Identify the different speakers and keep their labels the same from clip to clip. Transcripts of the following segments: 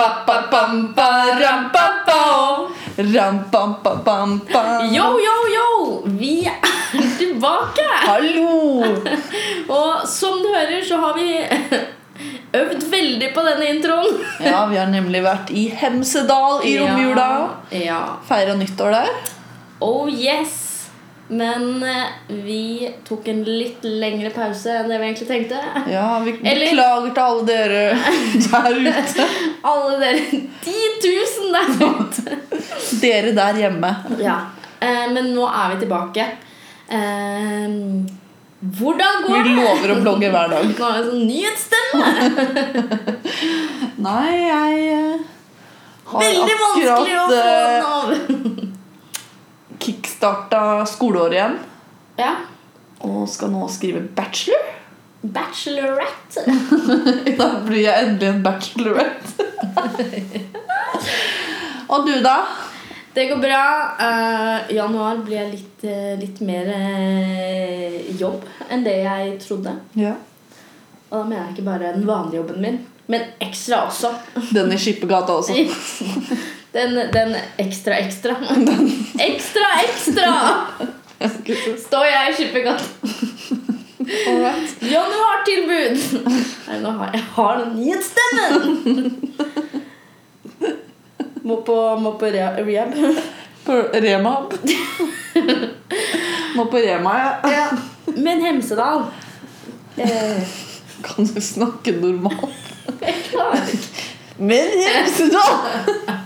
Speaker 1: Rampapapampa, rampapa. Rampampapampa.
Speaker 2: Yo, yo, yo! Vi er tilbake!
Speaker 1: Hallo!
Speaker 2: Og som du hører, så har vi øvd veldig på denne introen.
Speaker 1: Ja, vi har nemlig vært i Hemsedal i romjula.
Speaker 2: Ja. ja.
Speaker 1: Feira nyttår der.
Speaker 2: Oh yes! Men eh, vi tok en litt lengre pause enn det vi egentlig tenkte.
Speaker 1: Ja, vi
Speaker 2: Eller-
Speaker 1: beklager til alle dere der ute.
Speaker 2: Alle dere 10 000 der ute!
Speaker 1: Dere der hjemme.
Speaker 2: Ja. Eh, Men nå er vi tilbake. Eh, Hvordan
Speaker 1: Vi
Speaker 2: går det?
Speaker 1: lover å blogge hver dag.
Speaker 2: Nå har jeg sånn nyhetsstemme!
Speaker 1: Nei, jeg eh, har
Speaker 2: Veldig vanskelig å
Speaker 1: akkurat
Speaker 2: få den
Speaker 1: eh,
Speaker 2: over.
Speaker 1: kickstarta skoleåret igjen.
Speaker 2: Ja.
Speaker 1: Og skal nå skrive bachelor.
Speaker 2: Bachelorette.
Speaker 1: Da blir jeg endelig en bachelorette. Og du, da?
Speaker 2: Det går bra. Eh, januar blir jeg litt, eh, litt mer eh, jobb enn det jeg trodde.
Speaker 1: Ja.
Speaker 2: Og da mener jeg ikke bare den vanlige jobben min, men ekstra også.
Speaker 1: Den i Skippergata også.
Speaker 2: Den, den ekstra ekstra. Ekstra ekstra! Står jeg i Skippergata.
Speaker 1: Alright.
Speaker 2: Januartilbud! Nei, nå har jeg har den nyhetsstemmen! Må på, må på re- rehab.
Speaker 1: På Rema. Nå på Rema, ja.
Speaker 2: Ja. Men Hemsedal eh,
Speaker 1: Kan du snakke normalt?
Speaker 2: Jeg klarer ikke
Speaker 1: Men Hemsedal!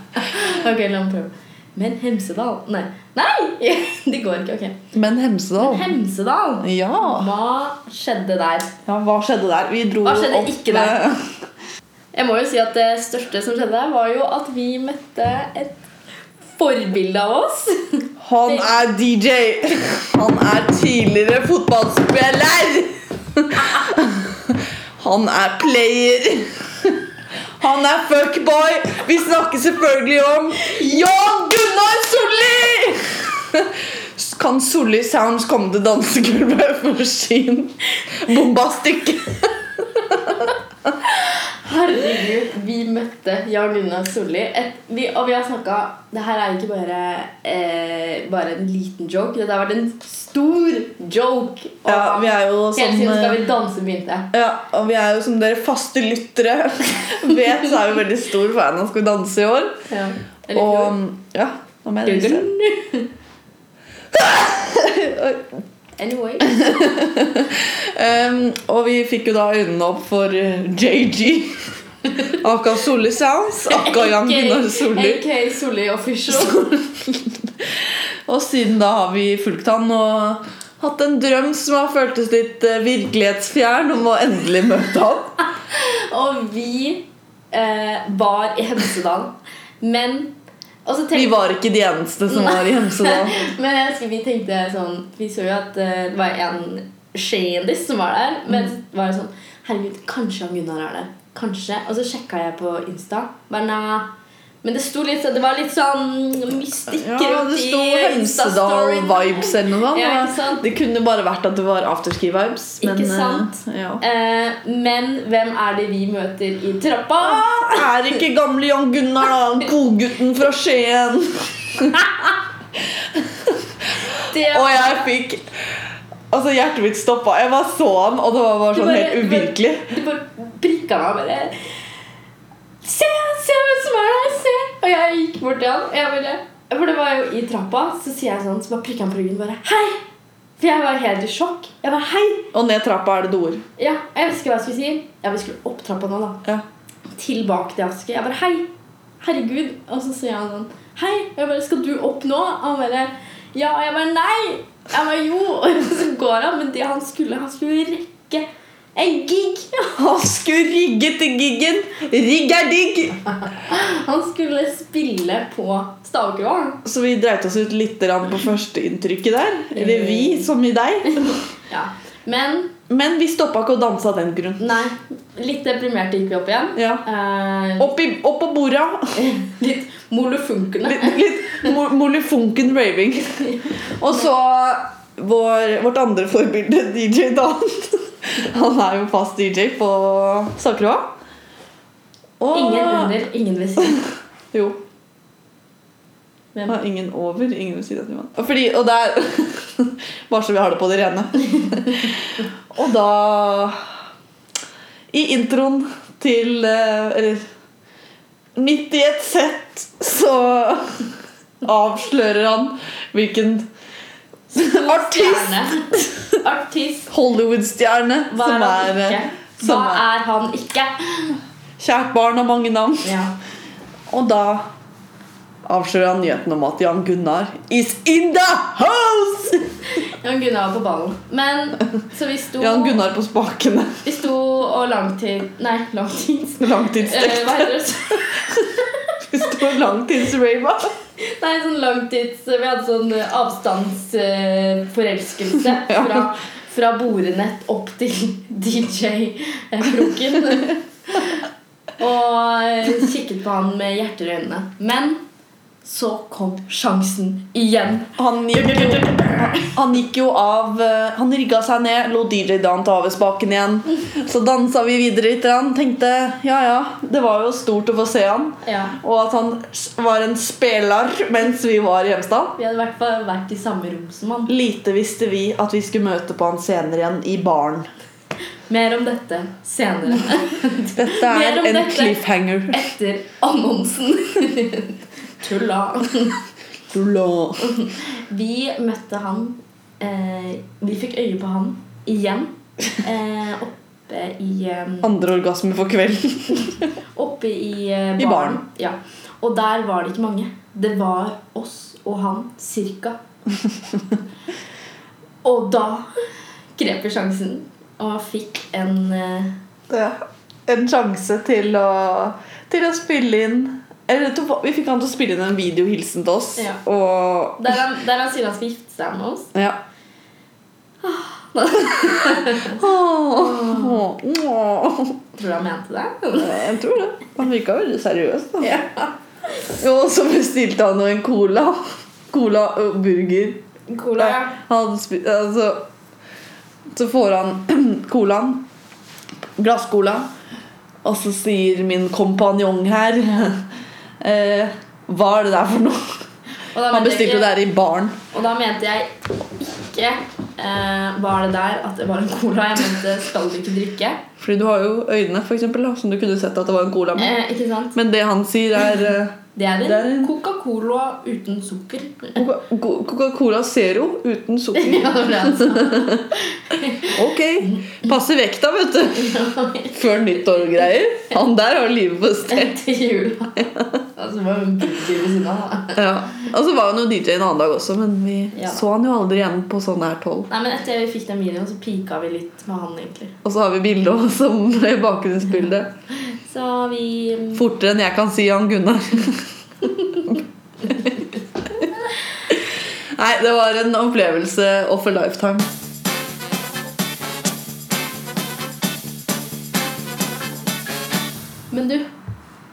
Speaker 2: Ok, la meg prøve. Men Hemsedal Nei! Nei! Det går ikke. ok.
Speaker 1: Men Hemsedal.
Speaker 2: Hemsedal!
Speaker 1: Ja.
Speaker 2: Hva skjedde der?
Speaker 1: ja. Hva skjedde der? Vi dro
Speaker 2: Hva skjedde ikke der?
Speaker 1: med-
Speaker 2: Jeg må jo si at Det største som skjedde der, var jo at vi møtte et forbilde av oss.
Speaker 1: Han er DJ. Han er tidligere fotballspiller. Han er player. Han er fuckboy. Vi snakker selvfølgelig om Jan Gunnar Solli! Kan Solli Sounds komme til dansegulvet for sin bombastikk?
Speaker 2: Herregud, vi møtte Jan Gunnar Solli. Et- vi- Og vi har snakka Det her er ikke bare, eh, bare en liten joke. Det har vært en stor joke. Og
Speaker 1: Ja, vi er jo
Speaker 2: Hele
Speaker 1: sånn
Speaker 2: tiden skal vi danse begynte.
Speaker 1: ja, og vi er jo som dere faste lyttere vet, så er vi veldig stor fan av Skal vi danse i år.
Speaker 2: Ja. Eller fjor.
Speaker 1: Og ja, nå må jeg reise.
Speaker 2: Anyway.
Speaker 1: Um, og vi fikk jo da øynene opp for eh, JG. Akka Solli Sounds. Akka Jan Gunnar Solli.
Speaker 2: A.K.A. Solli Official.
Speaker 1: Og siden da har vi fulgt han og hatt en drøm som har føltes litt eh, virkelighetsfjern om å endelig møte han.
Speaker 2: Og vi eh, var i Hemsedal. Men og så
Speaker 1: Vi
Speaker 2: tenkte,
Speaker 1: var ikke de eneste som var i Hemsedal.
Speaker 2: Men jeg husker vi tenkte sånn Vi så jo at eh, det var en kjendis som var der.
Speaker 1: Mm.
Speaker 2: Men så var det sånn Herregud, kanskje han Gunnar er der. Kanskje. Og så sjekka jeg på Insta. Bare, «Nei». men det sto litt sånn Det var litt sånn mystikk
Speaker 1: Ja, det sto Hemsedal-vibes eller noe
Speaker 2: Ja, ikke
Speaker 1: sånt.
Speaker 2: sant?
Speaker 1: Det kunne bare vært at det var afterski-vibes. men,
Speaker 2: Ikke
Speaker 1: eh,
Speaker 2: sant?
Speaker 1: Ja.
Speaker 2: Eh, men hvem er det vi møter i trappa?
Speaker 1: Er ikke gamle Jan Gunnar, da? han Godgutten fra Skien.
Speaker 2: Det
Speaker 1: Og jeg fikk Altså, hjertet mitt stoppa. Jeg bare så han, og det var bare
Speaker 2: Du
Speaker 1: sånn
Speaker 2: bare-
Speaker 1: helt
Speaker 2: du bare-
Speaker 1: uvirkelig.
Speaker 2: Du bare prikka meg bare Se, se hvem som er der! Se! Og jeg gikk bort til han. og Jeg bare, for det var jo i trappa, så sier jeg sånn, så bare prikker han på ryggen bare Hei! For jeg var helt i sjokk. Jeg bare, hei!
Speaker 1: Og ned trappa er det doer.
Speaker 2: Ja, jeg visste ikke hva jeg skulle si. Ja, vi skulle opp trappa nå, da
Speaker 1: Ja.
Speaker 2: tilbake til Aske. Jeg bare Hei! Herregud! Og så sier han sånn Hei! Og jeg bare Skal du opp nå? Og han bare Ja! Og jeg bare Nei! Jeg bare Jo! Og så går han. Men det han skulle Han skulle rekke en gig!
Speaker 1: Han skulle rigge til giggen! Rigg er digg!
Speaker 2: Han skulle spille på Stavkroa.
Speaker 1: Så vi dreit oss ut litt grann på førsteinntrykket der. Eller vi, som i deg.
Speaker 2: Ja. Men
Speaker 1: Men vi stoppa ikke å danse av den grunn.
Speaker 2: nei. Litt deprimerte gikk vi opp igjen.
Speaker 1: Ja.
Speaker 2: Eh,
Speaker 1: Opp, i, opp på borda.
Speaker 2: litt molofunkende.
Speaker 1: Litt, litt mo- molefonken raving. Og så vår, vårt andre forbilde, DJ Dan. Han er jo fast DJ på Sakroa. Åh!
Speaker 2: Ingen under, ingen ved siden.
Speaker 1: Jo.
Speaker 2: Hvem?
Speaker 1: Ja, ingen over, ingen ved siden av Johan. Og Fordi, og der Bare så vi har det på det rene. og da I introen til eh, Eller midt i et sett så avslører han hvilken artist
Speaker 2: Stjerne. Artist.
Speaker 1: Hollywood-stjerne
Speaker 2: Hva
Speaker 1: som
Speaker 2: er han
Speaker 1: er eh,
Speaker 2: ikke? Hva
Speaker 1: som er-
Speaker 2: er han ikke?
Speaker 1: kjært barn av mange navn.
Speaker 2: Ja.
Speaker 1: Og da avslører han nyheten om at Jan Gunnar is in the house!
Speaker 2: Jan Gunnar var på ballen. Men så vi sto,
Speaker 1: Jan Gunnar på spakene.
Speaker 2: vi sto og langtid... Nei, langtids... Eh, hva
Speaker 1: Langtidsdekte.
Speaker 2: heter det?
Speaker 1: Vi står langtidsrava.
Speaker 2: Nei, sånn langtids... Vi hadde sånn avstandsforelskelse
Speaker 1: Ja.
Speaker 2: fra, fra borenett opp til DJ-kroken. Og eh, kikket på han med hjerter i øynene. Men så kom sjansen igjen.
Speaker 1: Han gikk jo, han gikk jo av eh, Han rigga seg ned, lot DJ Dan ta over spaken igjen. Så dansa vi videre litt. grann, Tenkte ja ja, det var jo stort å få se han.
Speaker 2: Ja.
Speaker 1: Og at han s- var en spelar mens vi var i Hjemstad.
Speaker 2: Vi hadde i hvert fall vært i samme rom som han.
Speaker 1: Lite visste vi at vi skulle møte på han senere igjen i baren.
Speaker 2: Mer om dette senere.
Speaker 1: Dette
Speaker 2: Mer
Speaker 1: er
Speaker 2: om
Speaker 1: en
Speaker 2: dette.
Speaker 1: cliffhanger.
Speaker 2: Etter annonsen. Tulla.
Speaker 1: Lå.
Speaker 2: Vi møtte han eh, Vi fikk øye på han igjen eh, oppe i eh,
Speaker 1: Andre orgasme for kvelden.
Speaker 2: Oppe i, eh,
Speaker 1: I baren.
Speaker 2: Ja. Og der var det ikke mange. Det var oss og han cirka. og da grep vi sjansen og fikk en eh,
Speaker 1: Ja. En sjanse til å, til å spille inn Eller til å- vi fikk han til å spille inn en videohilsen til oss.
Speaker 2: Ja.
Speaker 1: Og
Speaker 2: der, han, der han sier han skal gifte seg med oss.
Speaker 1: ja.
Speaker 2: Ah.
Speaker 1: Åh. Åh.
Speaker 2: Tror du han mente det?
Speaker 1: Jeg tror det. Han virka veldig seriøs. da. Og så bestilte han jo en cola. Cola og burger.
Speaker 2: Cola.
Speaker 1: Nei, Han hadde spi- altså, så får han colaen, glasscola, og så sier min kompanjong her eh, Hva er det der for noe?
Speaker 2: Og da
Speaker 1: Han
Speaker 2: mente jeg
Speaker 1: bestilte
Speaker 2: ikke-
Speaker 1: jo det her i baren.
Speaker 2: Og da mente jeg ikke eh, var det der at det var en cola. Jeg mente skal du ikke drikke.
Speaker 1: Fordi du har jo øynene, for eksempel, da, som du kunne sett at det var en cola med.
Speaker 2: Eh, ikke sant?
Speaker 1: Men det han sier, er eh,
Speaker 2: Det er
Speaker 1: Det er
Speaker 2: en
Speaker 1: en-
Speaker 2: Coca-Cola uten sukker.
Speaker 1: Coca- Co- Coca-Cola Zero uten sukker.
Speaker 2: Ja, det var det han sa.
Speaker 1: Ok. Passe vekta, vet du. Før nyttår og greier. Han der har livet på stell.
Speaker 2: Etter jula. Altså, det var en burger ved siden av. da.
Speaker 1: Ja, Og så var han jo DJ en annen dag også, men vi
Speaker 2: Ja.
Speaker 1: så han jo aldri igjen på sånn her tolv.
Speaker 2: Nei, men Etter vi fikk den videoen, så pika vi litt med han. egentlig
Speaker 1: Og så har vi bildet også som ble bakgrunnsbildet.
Speaker 2: Så vi mm,
Speaker 1: Fortere enn jeg kan si Jan Gunnar. Nei, det var en opplevelse of a lifetime.
Speaker 2: Men du,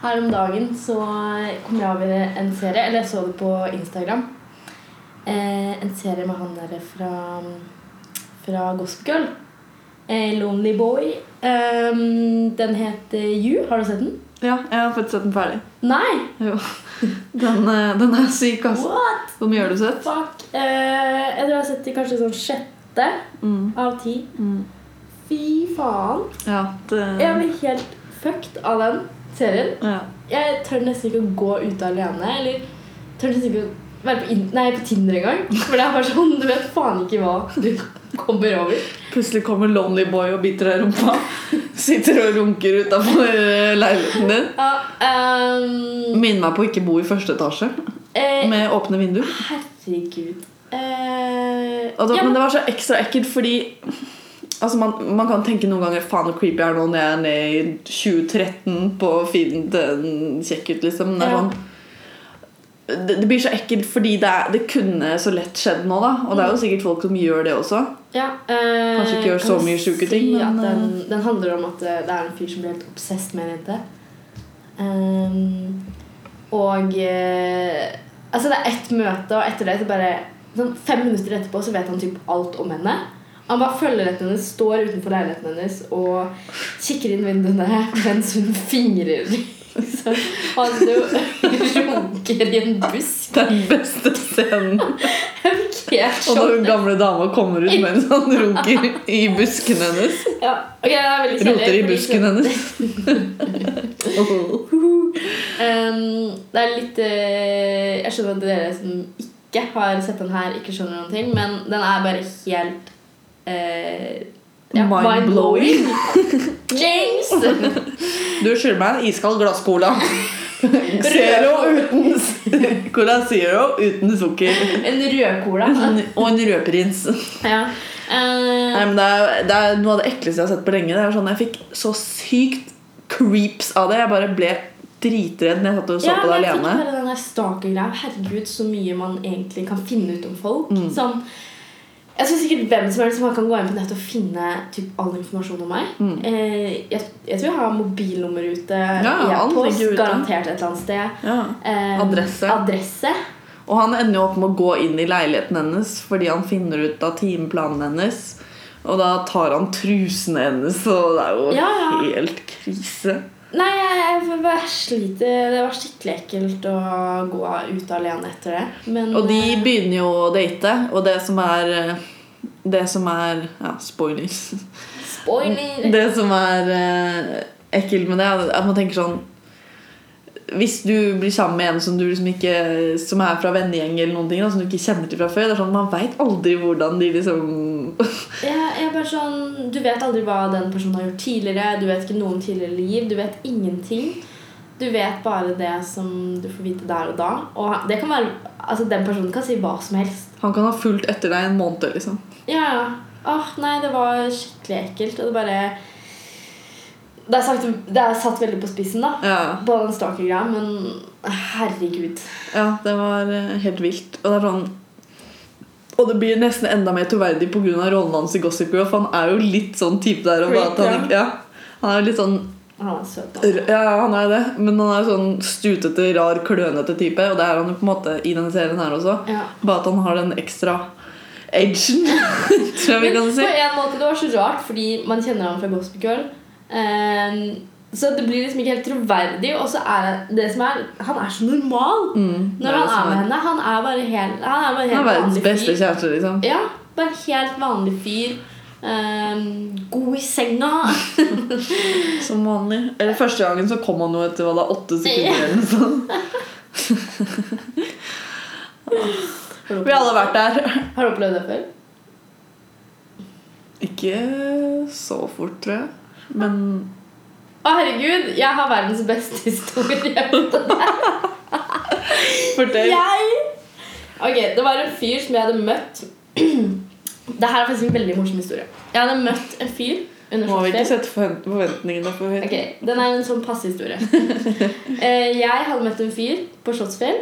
Speaker 2: her om dagen så kom jeg over en serie. Eller jeg så det på Instagram. Eh, en serie med han derre fra, fra Gossip Girl. Eh, Lonely Boy. Eh, den heter You. Har du sett den?
Speaker 1: Ja, jeg har fått sett den ferdig.
Speaker 2: Nei!
Speaker 1: Jo. Den, eh, den er syk, altså.
Speaker 2: What
Speaker 1: Hvor mye har du
Speaker 2: the
Speaker 1: sett?
Speaker 2: fuck? Eh, jeg tror jeg har sett det kanskje sånn sjette
Speaker 1: Mm.
Speaker 2: av ti.
Speaker 1: Mm.
Speaker 2: Fy faen.
Speaker 1: Ja, det,
Speaker 2: Jeg blir helt fucked av den serien.
Speaker 1: ja.
Speaker 2: Jeg tør nesten ikke å gå ute alene. Eller tør nesten ikke å være på, in nei, på Tinder engang. For det er bare sånn, du vet faen ikke hva du kommer over.
Speaker 1: Plutselig kommer Lonely Boy og biter deg i rumpa. Sitter og runker utafor leiligheten din.
Speaker 2: Ja, ehm,
Speaker 1: Minn meg på å ikke bo i første etasje
Speaker 2: eh,
Speaker 1: med åpne vinduer.
Speaker 2: herregud. Eh,
Speaker 1: Og da,
Speaker 2: ja,
Speaker 1: men
Speaker 2: men,
Speaker 1: det var så ekstra ekkelt fordi altså man, man kan tenke noen ganger faen hvor creepy jeg er nå når jeg er nede i 2013 på feeden til en kjekk gutt. Liksom. Det, er
Speaker 2: Ja.
Speaker 1: sånn, det, det blir så ekkelt fordi det, er, det kunne så lett skjedd nå. da Og det
Speaker 2: Mm.
Speaker 1: er jo sikkert folk som gjør det også.
Speaker 2: ja, eh,
Speaker 1: Kanskje ikke gjør
Speaker 2: kan
Speaker 1: så
Speaker 2: jeg
Speaker 1: mye sjuke ting,
Speaker 2: si at
Speaker 1: men,
Speaker 2: den, den handler om at eh, det er en fyr som blir helt obsessed med en jente. Ehm, og eh, Altså, det er ett møte, og etter det så bare sånn Fem minutter etterpå så vet han typ alt om henne. Han Han bare følger etter henne, står utenfor leiligheten hennes og kikker inn vinduene mens hun fingrer. Liksom. Han sitter og runker i en busk.
Speaker 1: Den beste scenen.
Speaker 2: Jeg fikk helt
Speaker 1: Og når
Speaker 2: sjokk.
Speaker 1: hun gamle dama kommer ut mens han runker i busken hennes.
Speaker 2: Ja. ok, det er veldig kjedelig,
Speaker 1: Roter i
Speaker 2: fordi-
Speaker 1: busken hennes.
Speaker 2: Um, det er litt eh, Jeg skjønner at dere som ikke har sett den her, ikke skjønner noen ting, men den er bare helt eh, ja,
Speaker 1: Mind-blowing.
Speaker 2: mind-blowing. James!
Speaker 1: Du skylder meg en iskald glass cola. Zero uten s- Cola Zero uten sukker.
Speaker 2: En rødcola.
Speaker 1: Og en rødprins.
Speaker 2: Ja. Eh,
Speaker 1: Nei, men det, er, det er noe av det ekleste jeg har sett på lenge. Det er sånn, Jeg fikk så sykt creeps av det. Jeg bare ble dritredd når jeg satt og så
Speaker 2: ja,
Speaker 1: på det
Speaker 2: men jeg fikk
Speaker 1: alene.
Speaker 2: bare den der stalker-greia. Herregud, så mye man egentlig kan finne ut om folk.
Speaker 1: Mm.
Speaker 2: Sånn, jeg synes sikkert hvem som helst man kan gå inn på nettet og finne typ, all informasjon om meg.
Speaker 1: Mm.
Speaker 2: Eh, jeg, jeg tror jeg har mobilnummer ute,
Speaker 1: alt
Speaker 2: e-post,
Speaker 1: ligger ute.
Speaker 2: garantert et eller annet sted.
Speaker 1: Ja.
Speaker 2: Eh,
Speaker 1: Adresse.
Speaker 2: adresse.
Speaker 1: Og han ender jo opp med å gå inn i leiligheten hennes fordi han finner ut av timeplanen hennes. Og da tar han trusene hennes, og det er jo
Speaker 2: Ja, ja.
Speaker 1: helt krise.
Speaker 2: Nei, jeg, jeg bare sliter. Det var skikkelig ekkelt å gå ut alene etter det. Men, eh,
Speaker 1: Og de begynner jo å date, og det som er eh, Det som er Ja, spoilers.
Speaker 2: Spoiler!
Speaker 1: Det som er eh, ekkelt med det, er at man tenker sånn Hvis du blir sammen med en som, du liksom ikke, som er fra vennegjeng, eller noen ting, da, som du ikke kjenner til fra før, det er sånn, man veit aldri hvordan de liksom
Speaker 2: Jeg, jeg er bare sånn, Du vet aldri hva den personen har gjort tidligere. Du vet ikke noe om tidligere liv. Du vet ingenting. Du vet bare det som du får vite der og da. Og det kan være, altså Den personen kan si hva som helst.
Speaker 1: Han kan ha fulgt etter deg en måned, liksom.
Speaker 2: Ja, ja. Åh, Nei, det var skikkelig ekkelt. Og det bare Det er, sagt, det er satt veldig på spissen, da.
Speaker 1: Ja.
Speaker 2: På den stalker-greia, men herregud.
Speaker 1: Ja, det var eh, helt vilt. Og det er sånn og det blir nesten enda mer troverdig pga. rollen hans i Gossip Girl. For han er jo litt sånn type der. Og bare at han,
Speaker 2: Creep,
Speaker 1: ikke, ja. han er jo litt sånn
Speaker 2: Han er søt, da.
Speaker 1: r- Ja, ja, han er det. Men han er jo sånn stutete, rar, klønete type. Og det er han jo på en måte i denne serien her også.
Speaker 2: Ja.
Speaker 1: Bare at han har den ekstra edgen, tror jeg vi
Speaker 2: Men
Speaker 1: kan si.
Speaker 2: På en måte det var så rart, fordi man kjenner ham fra Gospel Girl. Ehm, så det blir liksom ikke helt troverdig. Og så er det som er Han er så normal
Speaker 1: Mm, det
Speaker 2: når
Speaker 1: er
Speaker 2: han
Speaker 1: det som
Speaker 2: er
Speaker 1: er.
Speaker 2: med henne. Han er bare helt, han er bare helt
Speaker 1: Han er verdens
Speaker 2: vanlig
Speaker 1: beste
Speaker 2: fyr.
Speaker 1: kjæreste, liksom.
Speaker 2: Ja, bare helt vanlig fyr. Ehm, god i senga.
Speaker 1: Som vanlig. Eller første gangen så kom han jo etter hva da, åtte sekunder eller noe sånt.
Speaker 2: Har du
Speaker 1: Vi har alle vært der.
Speaker 2: opplevd- Har du opplevd det før?
Speaker 1: Ikke så fort, tror jeg. Men
Speaker 2: Å, herregud, jeg har verdens beste historie.
Speaker 1: fortell.
Speaker 2: Jeg Ok, det var en fyr som jeg hadde møtt Det her er faktisk en veldig morsom historie Jeg hadde møtt en fyr under
Speaker 1: Må vi ikke
Speaker 2: shortfilm
Speaker 1: sette forvent- forventningene for høyt?
Speaker 2: Ok, den er en sånn passe historie Eh, Jeg hadde møtt en fyr på Slottsfjell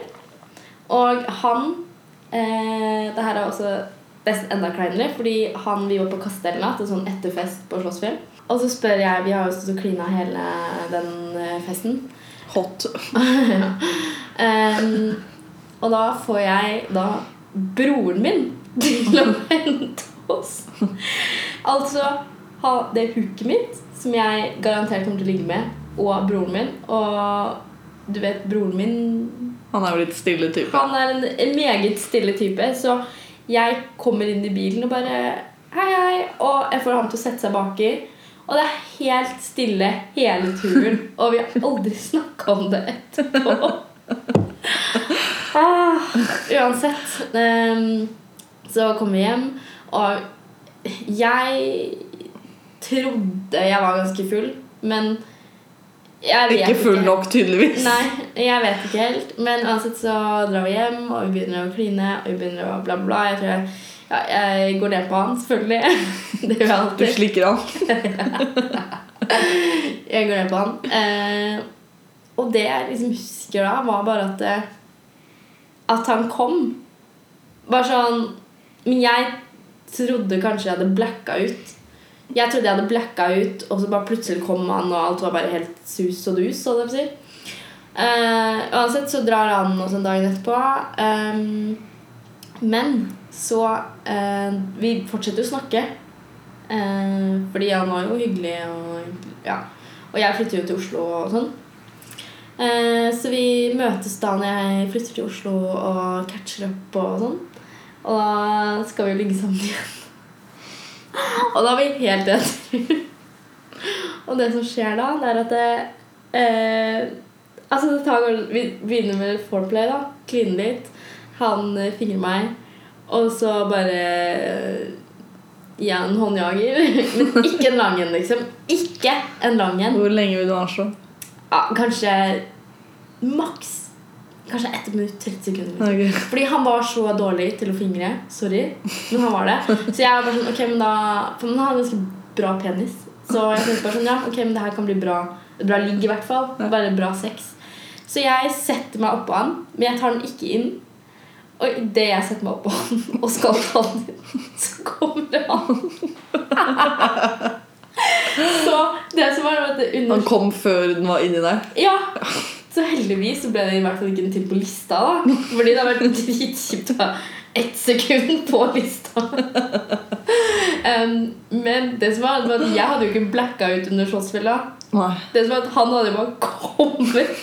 Speaker 2: Og han eh, Det her er også nesten enda kleinere Fordi han, vi var på Kastellna Til sånn etterfest på Slottsfjell Og så spør jeg, vi har jo stått og klina hele den eh, festen
Speaker 1: Hot.
Speaker 2: Ehm, og da får jeg da broren min til å hente oss. Altså ha det hooket mitt, som jeg garantert kommer til å ligge med, og broren min. Og du vet, broren min
Speaker 1: Han er jo litt stille type.
Speaker 2: Han er en, en meget stille type, så jeg kommer inn i bilen og bare Hei, hei. Og jeg får ham til å sette seg baki. Og det er helt stille hele turen. Og vi har aldri snakka om det etterpå. Ah, uansett. ehm, så kom vi hjem, og jeg trodde jeg var ganske full, men jeg vet
Speaker 1: Ikke full nok, tydeligvis.
Speaker 2: Nei, jeg vet ikke helt. Men uansett så drar vi hjem, og vi begynner å kline, og vi begynner å bla, bla. Jeg tror jeg, ja, jeg går ned på han, selvfølgelig. Det gjør jeg
Speaker 1: Du
Speaker 2: alltid.
Speaker 1: slikker han.
Speaker 2: Jeg går ned på han. Eh, og det jeg liksom husker da, var bare at eh, At han kom. Bare sånn Men jeg trodde kanskje jeg hadde blacka ut. Jeg trodde jeg hadde blacka ut, og så bare plutselig kom han, og alt var bare helt sus og dus. Sånn jeg sier. Eh, uansett så drar han oss en dag etterpå. Eh, men så eh, Vi fortsetter å snakke. Eh, fordi han var jo hyggelig, og ja. Og jeg flytter jo til Oslo og sånn. Eh, så vi møtes da når jeg flytter til Oslo og catcher opp og sånn. Og da skal vi jo ligge sammen igjen. Og da er vi helt enige. og det som skjer da, det er at det, eh, Altså, det tar, vi begynner med foreplay, da. Kline litt. Han eh, fingrer meg. Og så bare eh, gir jeg en håndjager. Men ikke en lang en, liksom. Ikke en lang en.
Speaker 1: Hvor lenge vil du sånn? anslå?
Speaker 2: Ja, kanskje maks Kanskje 1 minutt, 30 sekunder. liksom.
Speaker 1: Ok.
Speaker 2: Fordi han var så dårlig til å fingre. Sorry, men han var det. Så jeg var bare sånn, ok, men da For han har en ganske bra penis. Så jeg tenkte bare sånn, ja, ok, men det her kan bli bra et Bra ligg, i hvert fall. Bare bra sex. Så jeg setter meg oppå han, men jeg tar den ikke inn. Og idet jeg setter meg oppå han og skal ta den inn, så kommer han. Så det som var, var at det under
Speaker 1: Han kom før den var inni deg.
Speaker 2: ja. Så heldigvis så ble det i hvert fall ikke en til på lista. da Fordi det har vært dritkjipt å ha ett sekund på lista. Em, men det som var, det var at jeg hadde jo ikke blacka ut under slåssfella.
Speaker 1: Nei.
Speaker 2: Det som var at han hadde jo bare kommet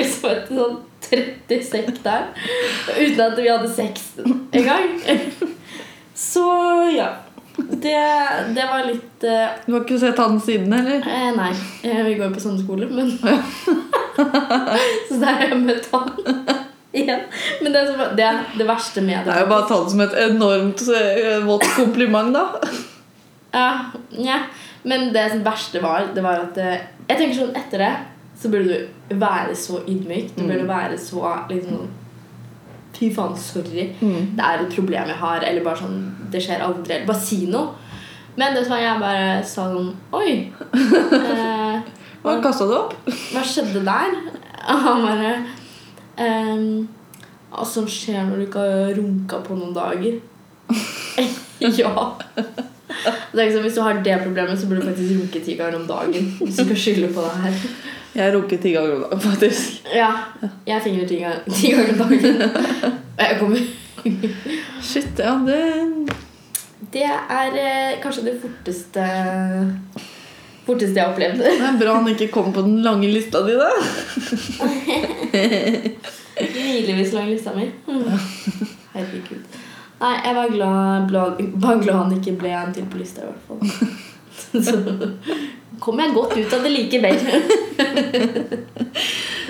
Speaker 2: liksom et sånn 30 sekk der. Uten at vi hadde sex en gang. Så ja. Det, det var litt eh,
Speaker 1: Du har ikke sett han siden, eller?
Speaker 2: Eh, nei, eh, vi går på samme skole, men Så der har jeg møtt han igjen. Men det, som, var- det, er det verste med
Speaker 1: Det er
Speaker 2: det
Speaker 1: jo bare å ta det som et enormt eh, vått kompliment, da.
Speaker 2: Ja, nja. Men det som verste var, det var at eh, Jeg tenker sånn etter det så burde du være så ydmyk. Du burde være så liksom Fy faen, sorry.
Speaker 1: Mm.
Speaker 2: Det er et problem jeg har. Eller bare sånn Det skjer aldri. Eller bare si noe. Men det som var, jeg bare sa sånn Oi. Eh,
Speaker 1: Hva kasta du opp?
Speaker 2: Hva skjedde der? Og han bare ehm, Hva som skjer når du ikke har runka på noen dager? ja. Det er ikke sånn, Hvis du har det problemet, så burde du faktisk runke ti ganger om dagen. Hvis du skal skylde på det her.
Speaker 1: Jeg runket ti ganger om dagen, faktisk.
Speaker 2: Ja, Jeg fingrer ti ganger, ti ganger om dagen. Og jeg kommer
Speaker 1: Shit, ja, det
Speaker 2: Det er eh, kanskje det forteste Forteste jeg har opplevd.
Speaker 1: det er bra han ikke kom på den lange lista di, da.
Speaker 2: Milevis lang lista mi. Mm. Herregud. Nei, jeg var glad, glad, var glad han ikke ble en til på lista, i hvert fall. Så kom jeg godt ut av det likevel.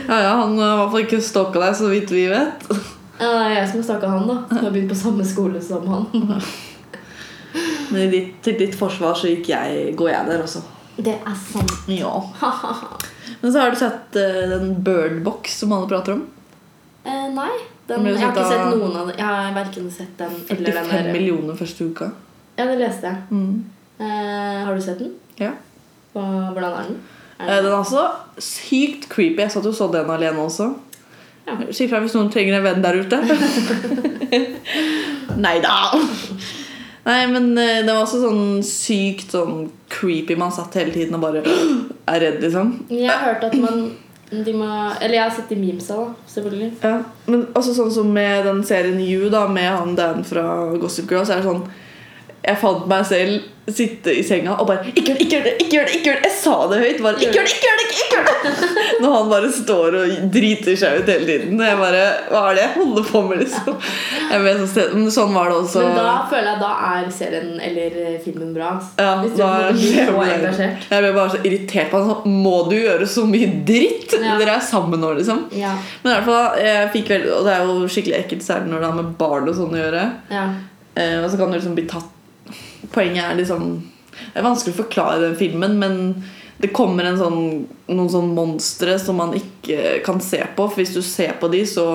Speaker 1: Ja, ja, Han har i hvert fall ikke stalka deg, så vidt vi vet.
Speaker 2: Ja, det er jeg som har stakka han, da. Jeg har begynt på samme skole som han.
Speaker 1: Men i ditt, til ditt forsvar så gikk jeg, går jeg der også.
Speaker 2: Det er sant.
Speaker 1: Ja. Men så har du sett eh, den Birdbox som alle prater om.
Speaker 2: Eh, nei, den,
Speaker 1: Men
Speaker 2: jeg har ikke
Speaker 1: da-
Speaker 2: sett noen av dem. Jeg har verken sett den eller
Speaker 1: 45
Speaker 2: den der.
Speaker 1: millioner første uka.
Speaker 2: Ja, det leste jeg.
Speaker 1: Mm.
Speaker 2: Eh, har du sett den?
Speaker 1: Ja.
Speaker 2: Hva, hvordan er den?
Speaker 1: Eh,
Speaker 2: Er
Speaker 1: Den
Speaker 2: den?
Speaker 1: er altså sykt creepy. Jeg satt og så den alene også.
Speaker 2: Ja.
Speaker 1: Si fra hvis noen trenger en venn der ute. Neida. Nei, men eh, det var også sånn sykt sånn creepy. Man satt hele tiden og bare er redd, liksom.
Speaker 2: Jeg har hørt at man de må, Eller jeg har sett de memesa, da. Selvfølgelig.
Speaker 1: Ja, men også sånn som med den serien You da, med han Dan fra Gossip Girl, så er det sånn Jeg fant meg selv sitte i senga og bare Ikke gjør det, ikke gjør det, ikke gjør det! ikke gjør det Jeg sa det høyt! bare, Ikke gjør det, ikke gjør det! ikke gjør det Når han bare står og driter seg ut hele tiden. Og jeg bare Hva er det jeg holder på med, liksom? Jeg vet, så- men sånn var det også.
Speaker 2: Men da føler jeg da er serien eller eh, filmen bra. ass.
Speaker 1: ja,
Speaker 2: Hvis du
Speaker 1: da
Speaker 2: blir
Speaker 1: jeg
Speaker 2: så
Speaker 1: ble-
Speaker 2: engasjert.
Speaker 1: Jeg ble bare så irritert på han. Sånn, Må du gjøre så mye dritt?
Speaker 2: Ja.
Speaker 1: Dere er sammen nå, liksom.
Speaker 2: Ja,
Speaker 1: Men i hvert fall, jeg fikk veldig, og det er jo skikkelig ekkelt særlig når det har med barn og sånn å gjøre.
Speaker 2: ja.
Speaker 1: Eh, og så kan du liksom bli tatt Poenget er liksom Det er vanskelig å forklare den filmen, men det kommer en sånn, noen sånn monstre som man ikke kan se på. For hvis du ser på de, så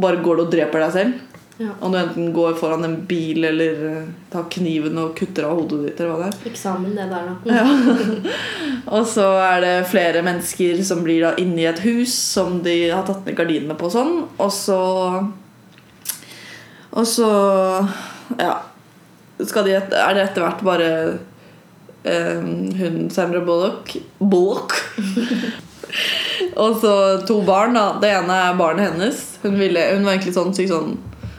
Speaker 1: bare går du og dreper deg selv.
Speaker 2: Ja.
Speaker 1: Om du enten går foran en bil eller eh, tar kniven og kutter av hodet ditt. eller hva det er
Speaker 2: Eksamen, det der, da.
Speaker 1: og så er det flere mennesker som blir da inne i et hus som de har tatt ned gardinene på og sånn. Og så Og så Ja. Skal de et, er det etter hvert bare eh, hun Sandra Bullock Bullock. og så to barn, da. Det ene er barnet hennes. Hun, ville, hun var egentlig sånn syk sånn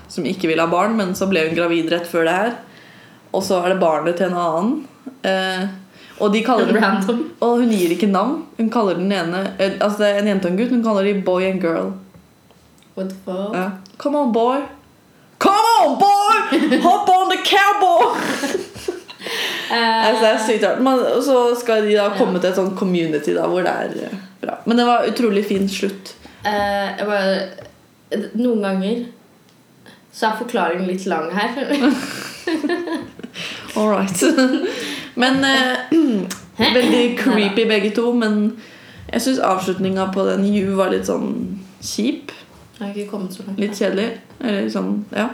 Speaker 1: som ikke ville ha barn, men så ble hun gravid rett før det her. og så er det barnet til en annen. Eh, og de kaller det
Speaker 2: Random.
Speaker 1: Og hun gir ikke navn. Hun kaller den ene eh, Altså det er en jente og en gutt, hun kaller de boy and girl.
Speaker 2: What the fuck?
Speaker 1: Ja. Come on, boy. Come on, boy! Hop on the cowboy!
Speaker 2: Eh,
Speaker 1: Altså, det er sykt rart. Men, og så skal de da komme til et sånt community da, hvor det er eh, bra. Men det var utrolig fin slutt.
Speaker 2: eh, jeg bare, noen ganger så er forklaringen litt lang her.
Speaker 1: All right. men eh, Veldig creepy begge to, men jeg syns avslutninga på den You var litt sånn kjip.
Speaker 2: Jeg har ikke kommet så langt.
Speaker 1: Litt kjedelig. Eller sånn, ja.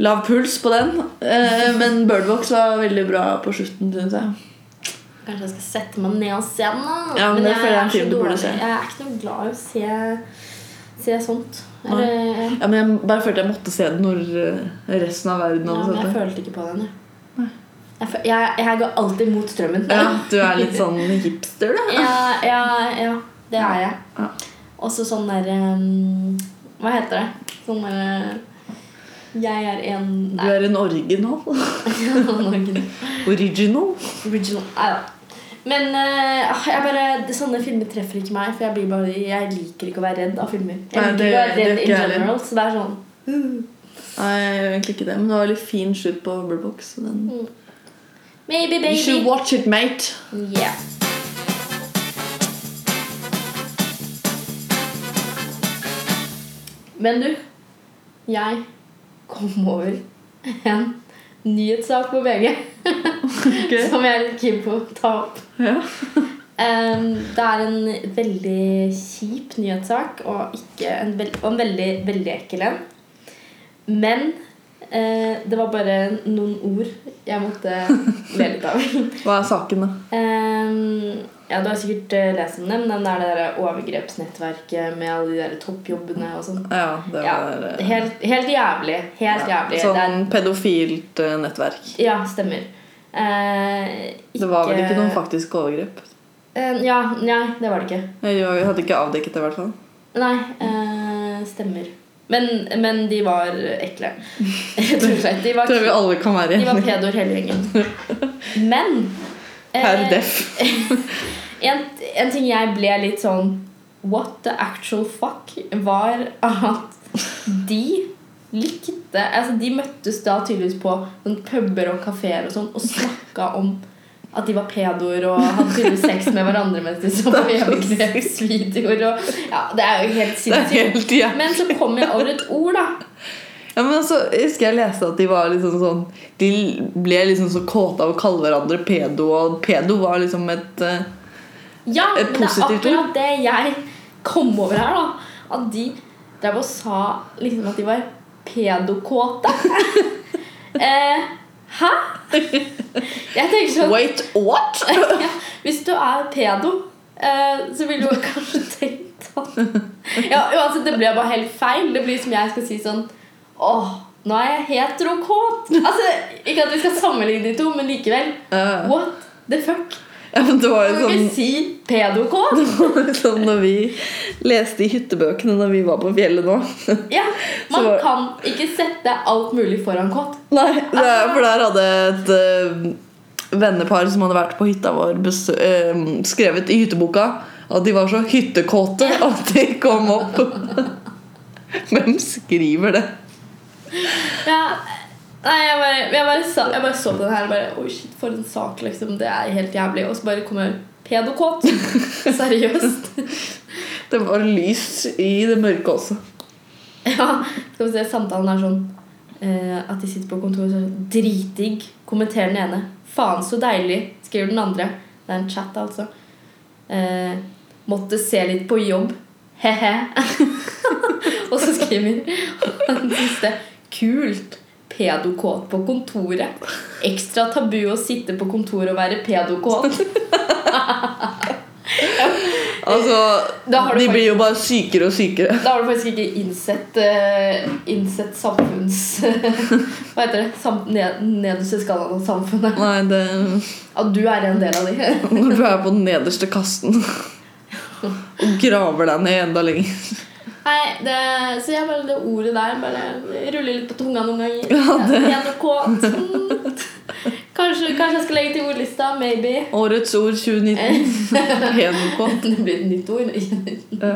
Speaker 1: Lav puls på den. Eh, men Birdbox var veldig bra på slutten, syns jeg.
Speaker 2: Kanskje jeg skal sette meg ned og se den, da.
Speaker 1: Ja, men det føler jeg er en film du burde se.
Speaker 2: Jeg er ikke noe glad i å se, se sånt.
Speaker 1: Nei.
Speaker 2: Eller,
Speaker 1: Ja, men Jeg bare følte jeg måtte se den når eh, resten av verden
Speaker 2: ja,
Speaker 1: hadde
Speaker 2: men jeg
Speaker 1: sett den.
Speaker 2: følte ikke på den. jeg.
Speaker 1: Nei.
Speaker 2: Jeg, fø- jeg, jeg går alltid mot strømmen.
Speaker 1: Ja, du er litt sånn hipster, da.
Speaker 2: ja, ja, ja, det er jeg.
Speaker 1: Ja.
Speaker 2: Også sånn der um, Hva heter det? Sånn der eh, Jeg er en
Speaker 1: Du
Speaker 2: Nei,
Speaker 1: er en original.
Speaker 2: jeg var ikke det.
Speaker 1: Original.
Speaker 2: original. Nei da. Men eh, ah, jeg bare, sånne filmer treffer ikke meg, for jeg, blir bare, jeg liker ikke å være redd av filmer. Jeg
Speaker 1: Nei, det-
Speaker 2: liker ikke å være
Speaker 1: det er ikke
Speaker 2: redd in
Speaker 1: jeg heller.
Speaker 2: general, så det er sånn
Speaker 1: Nei, jeg gjør egentlig ikke det, men det var litt fin slutt på Birdbox. så Den...
Speaker 2: Maybe
Speaker 1: You should
Speaker 2: baby.
Speaker 1: watch it, mate.
Speaker 2: Yeah. Men du, jeg kom over en nyhetssak på VG
Speaker 1: Ok.
Speaker 2: som jeg er litt keen på å ta opp.
Speaker 1: Ja.
Speaker 2: Ehm, det er en veldig kjip nyhetssak, og, ikke en, vel- og en veldig, veldig ekkel en. Men eh, det var bare noen ord jeg måtte le litt av.
Speaker 1: Hva er saken, da?
Speaker 2: Ehm, ja, Du har sikkert eh, lest om det, men den er det der overgrepsnettverket med alle de der toppjobbene og sånn.
Speaker 1: Ja, det
Speaker 2: Ja,
Speaker 1: var eh,
Speaker 2: helt, helt jævlig. Helt
Speaker 1: ja,
Speaker 2: jævlig. Det er,
Speaker 1: Sånn pedofilt eh, nettverk.
Speaker 2: ja, stemmer. Eh,
Speaker 1: Det var vel ikke noen faktisk overgrep?
Speaker 2: Eh, ja, nei, det var det ikke.
Speaker 1: Jeg jeg hadde ikke avdekket det, i hvert fall.
Speaker 2: Nei, eh, stemmer. Men, men de var ekle. Rett og slett. De var,
Speaker 1: Tror jeg vi alle kan være
Speaker 2: de var
Speaker 1: enige.
Speaker 2: pedoer hele gjengen. Men eh,
Speaker 1: Per def.
Speaker 2: en, en ting jeg ble litt sånn What the actual fuck? Var at de likte Altså, de møttes da tydeligvis på sånn puber og kafeer og sånn og snakka om at de var pedoer og hadde tydeligvis sex med hverandre mens de så på overgrepsvideoer og Ja, det er jo
Speaker 1: Det er
Speaker 2: helt sinnssykt.
Speaker 1: helt ja.
Speaker 2: Men så kom jeg over et ord, da.
Speaker 1: ja, men altså, jeg husker jeg leste at de var liksom sånn De ble liksom så kåte av å kalle hverandre pedo, og pedo var liksom et eh,
Speaker 2: Ja,
Speaker 1: Et
Speaker 2: men det er
Speaker 1: positivt ord.
Speaker 2: akkurat det jeg kom over her, da. At de drev og sa liksom at de var pedokåte. eh, hæ? Jeg tenker sånn
Speaker 1: Wait, what?!
Speaker 2: ja, Hvis du er pedo, eh, så ville du kanskje tenkt at Ja, uansett, det blir bare helt feil. Det blir som jeg skal si sånn Åh, nå er jeg heterokåt. Altså, ikke at vi skal sammenligne de to, men likevel.
Speaker 1: Eh,
Speaker 2: What the fuck?
Speaker 1: ja, men det var
Speaker 2: Kan
Speaker 1: jo
Speaker 2: du
Speaker 1: sånn
Speaker 2: ikke si pedokåt?
Speaker 1: Sånn når vi leste i hyttebøkene når vi var på fjellet nå.
Speaker 2: Ja, man
Speaker 1: Så-
Speaker 2: kan ikke sette alt mulig foran kåt.
Speaker 1: Nei, det er, For der hadde et eh, vennepar som hadde vært på hytta vår, besø eh, skrevet i hytteboka at de var så hyttekåte at de kom opp. Hvem skriver det?
Speaker 2: Ja. Nei, jeg bare, jeg, bare sa, jeg bare så på den her og bare Oi, shit, for en sak, liksom. Det er helt jævlig. Og så bare kommer pedokåt. Seriøst.
Speaker 1: Det var lys i det mørke også.
Speaker 2: Ja, skal vi se, samtalen er sånn eh, at de sitter på kontoret og sier sånn, Dritdigg, kommenterer den ene. Faen så deilig, skriver den andre. Det er en chat, altså. Eh, måtte se litt på jobb. He-he. og så skriver den siste Kult. Pedokåt på kontoret. Ekstra tabu å sitte på kontoret og være pedokåt.
Speaker 1: Altså,
Speaker 2: Da har du
Speaker 1: De blir jo bare sykere og sykere.
Speaker 2: Da har du faktisk ikke innsett, eh, innsett samfunns... hva heter det? Sam, ned, nederste skalaen av samfunnet.
Speaker 1: Nei, det,
Speaker 2: At du er en del av de.
Speaker 1: når du er på den nederste kasten og graver deg ned enda lenger.
Speaker 2: Nei, Nei, det, så jeg bare det ordet der bare det ruller litt på tunga noen ganger. NRK. Kanskje, kanskje jeg skal legge til ordlista. Maybe.
Speaker 1: Årets ord 2019. Hedokåt.
Speaker 2: Det blir et nytt ord.
Speaker 1: Ja.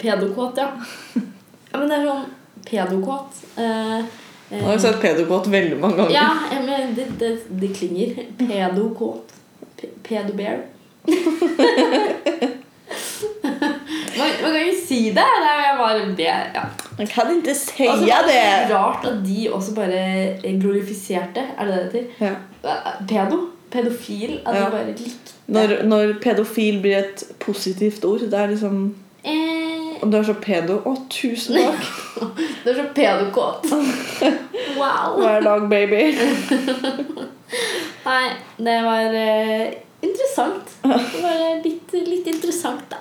Speaker 2: Pedokåt, ja. ja. Men det er sånn pedokåt. Eh, eh,
Speaker 1: Nå har vi sagt pedokåt veldig mange ganger.
Speaker 2: ja, eh, men det, det, det klinger. Pedokåt. Pe- Pedobear. man, man kan jo si det. Det er bare det. Ja.
Speaker 1: Jeg kan ikke si
Speaker 2: Og så var det så rart at de også bare glorifiserte Er det det det heter?
Speaker 1: Ja.
Speaker 2: Eh, Pedo? Pedofil? At
Speaker 1: Ja.
Speaker 2: de bare likte
Speaker 1: Når, når pedofil blir et positivt ord, det er liksom
Speaker 2: eh,
Speaker 1: Om du er så pedo Å, tusen takk!
Speaker 2: Du er så pedokåt. wow.
Speaker 1: Hver dag, baby.
Speaker 2: Nei, det var eh, interessant. Det var litt, litt interessant, da.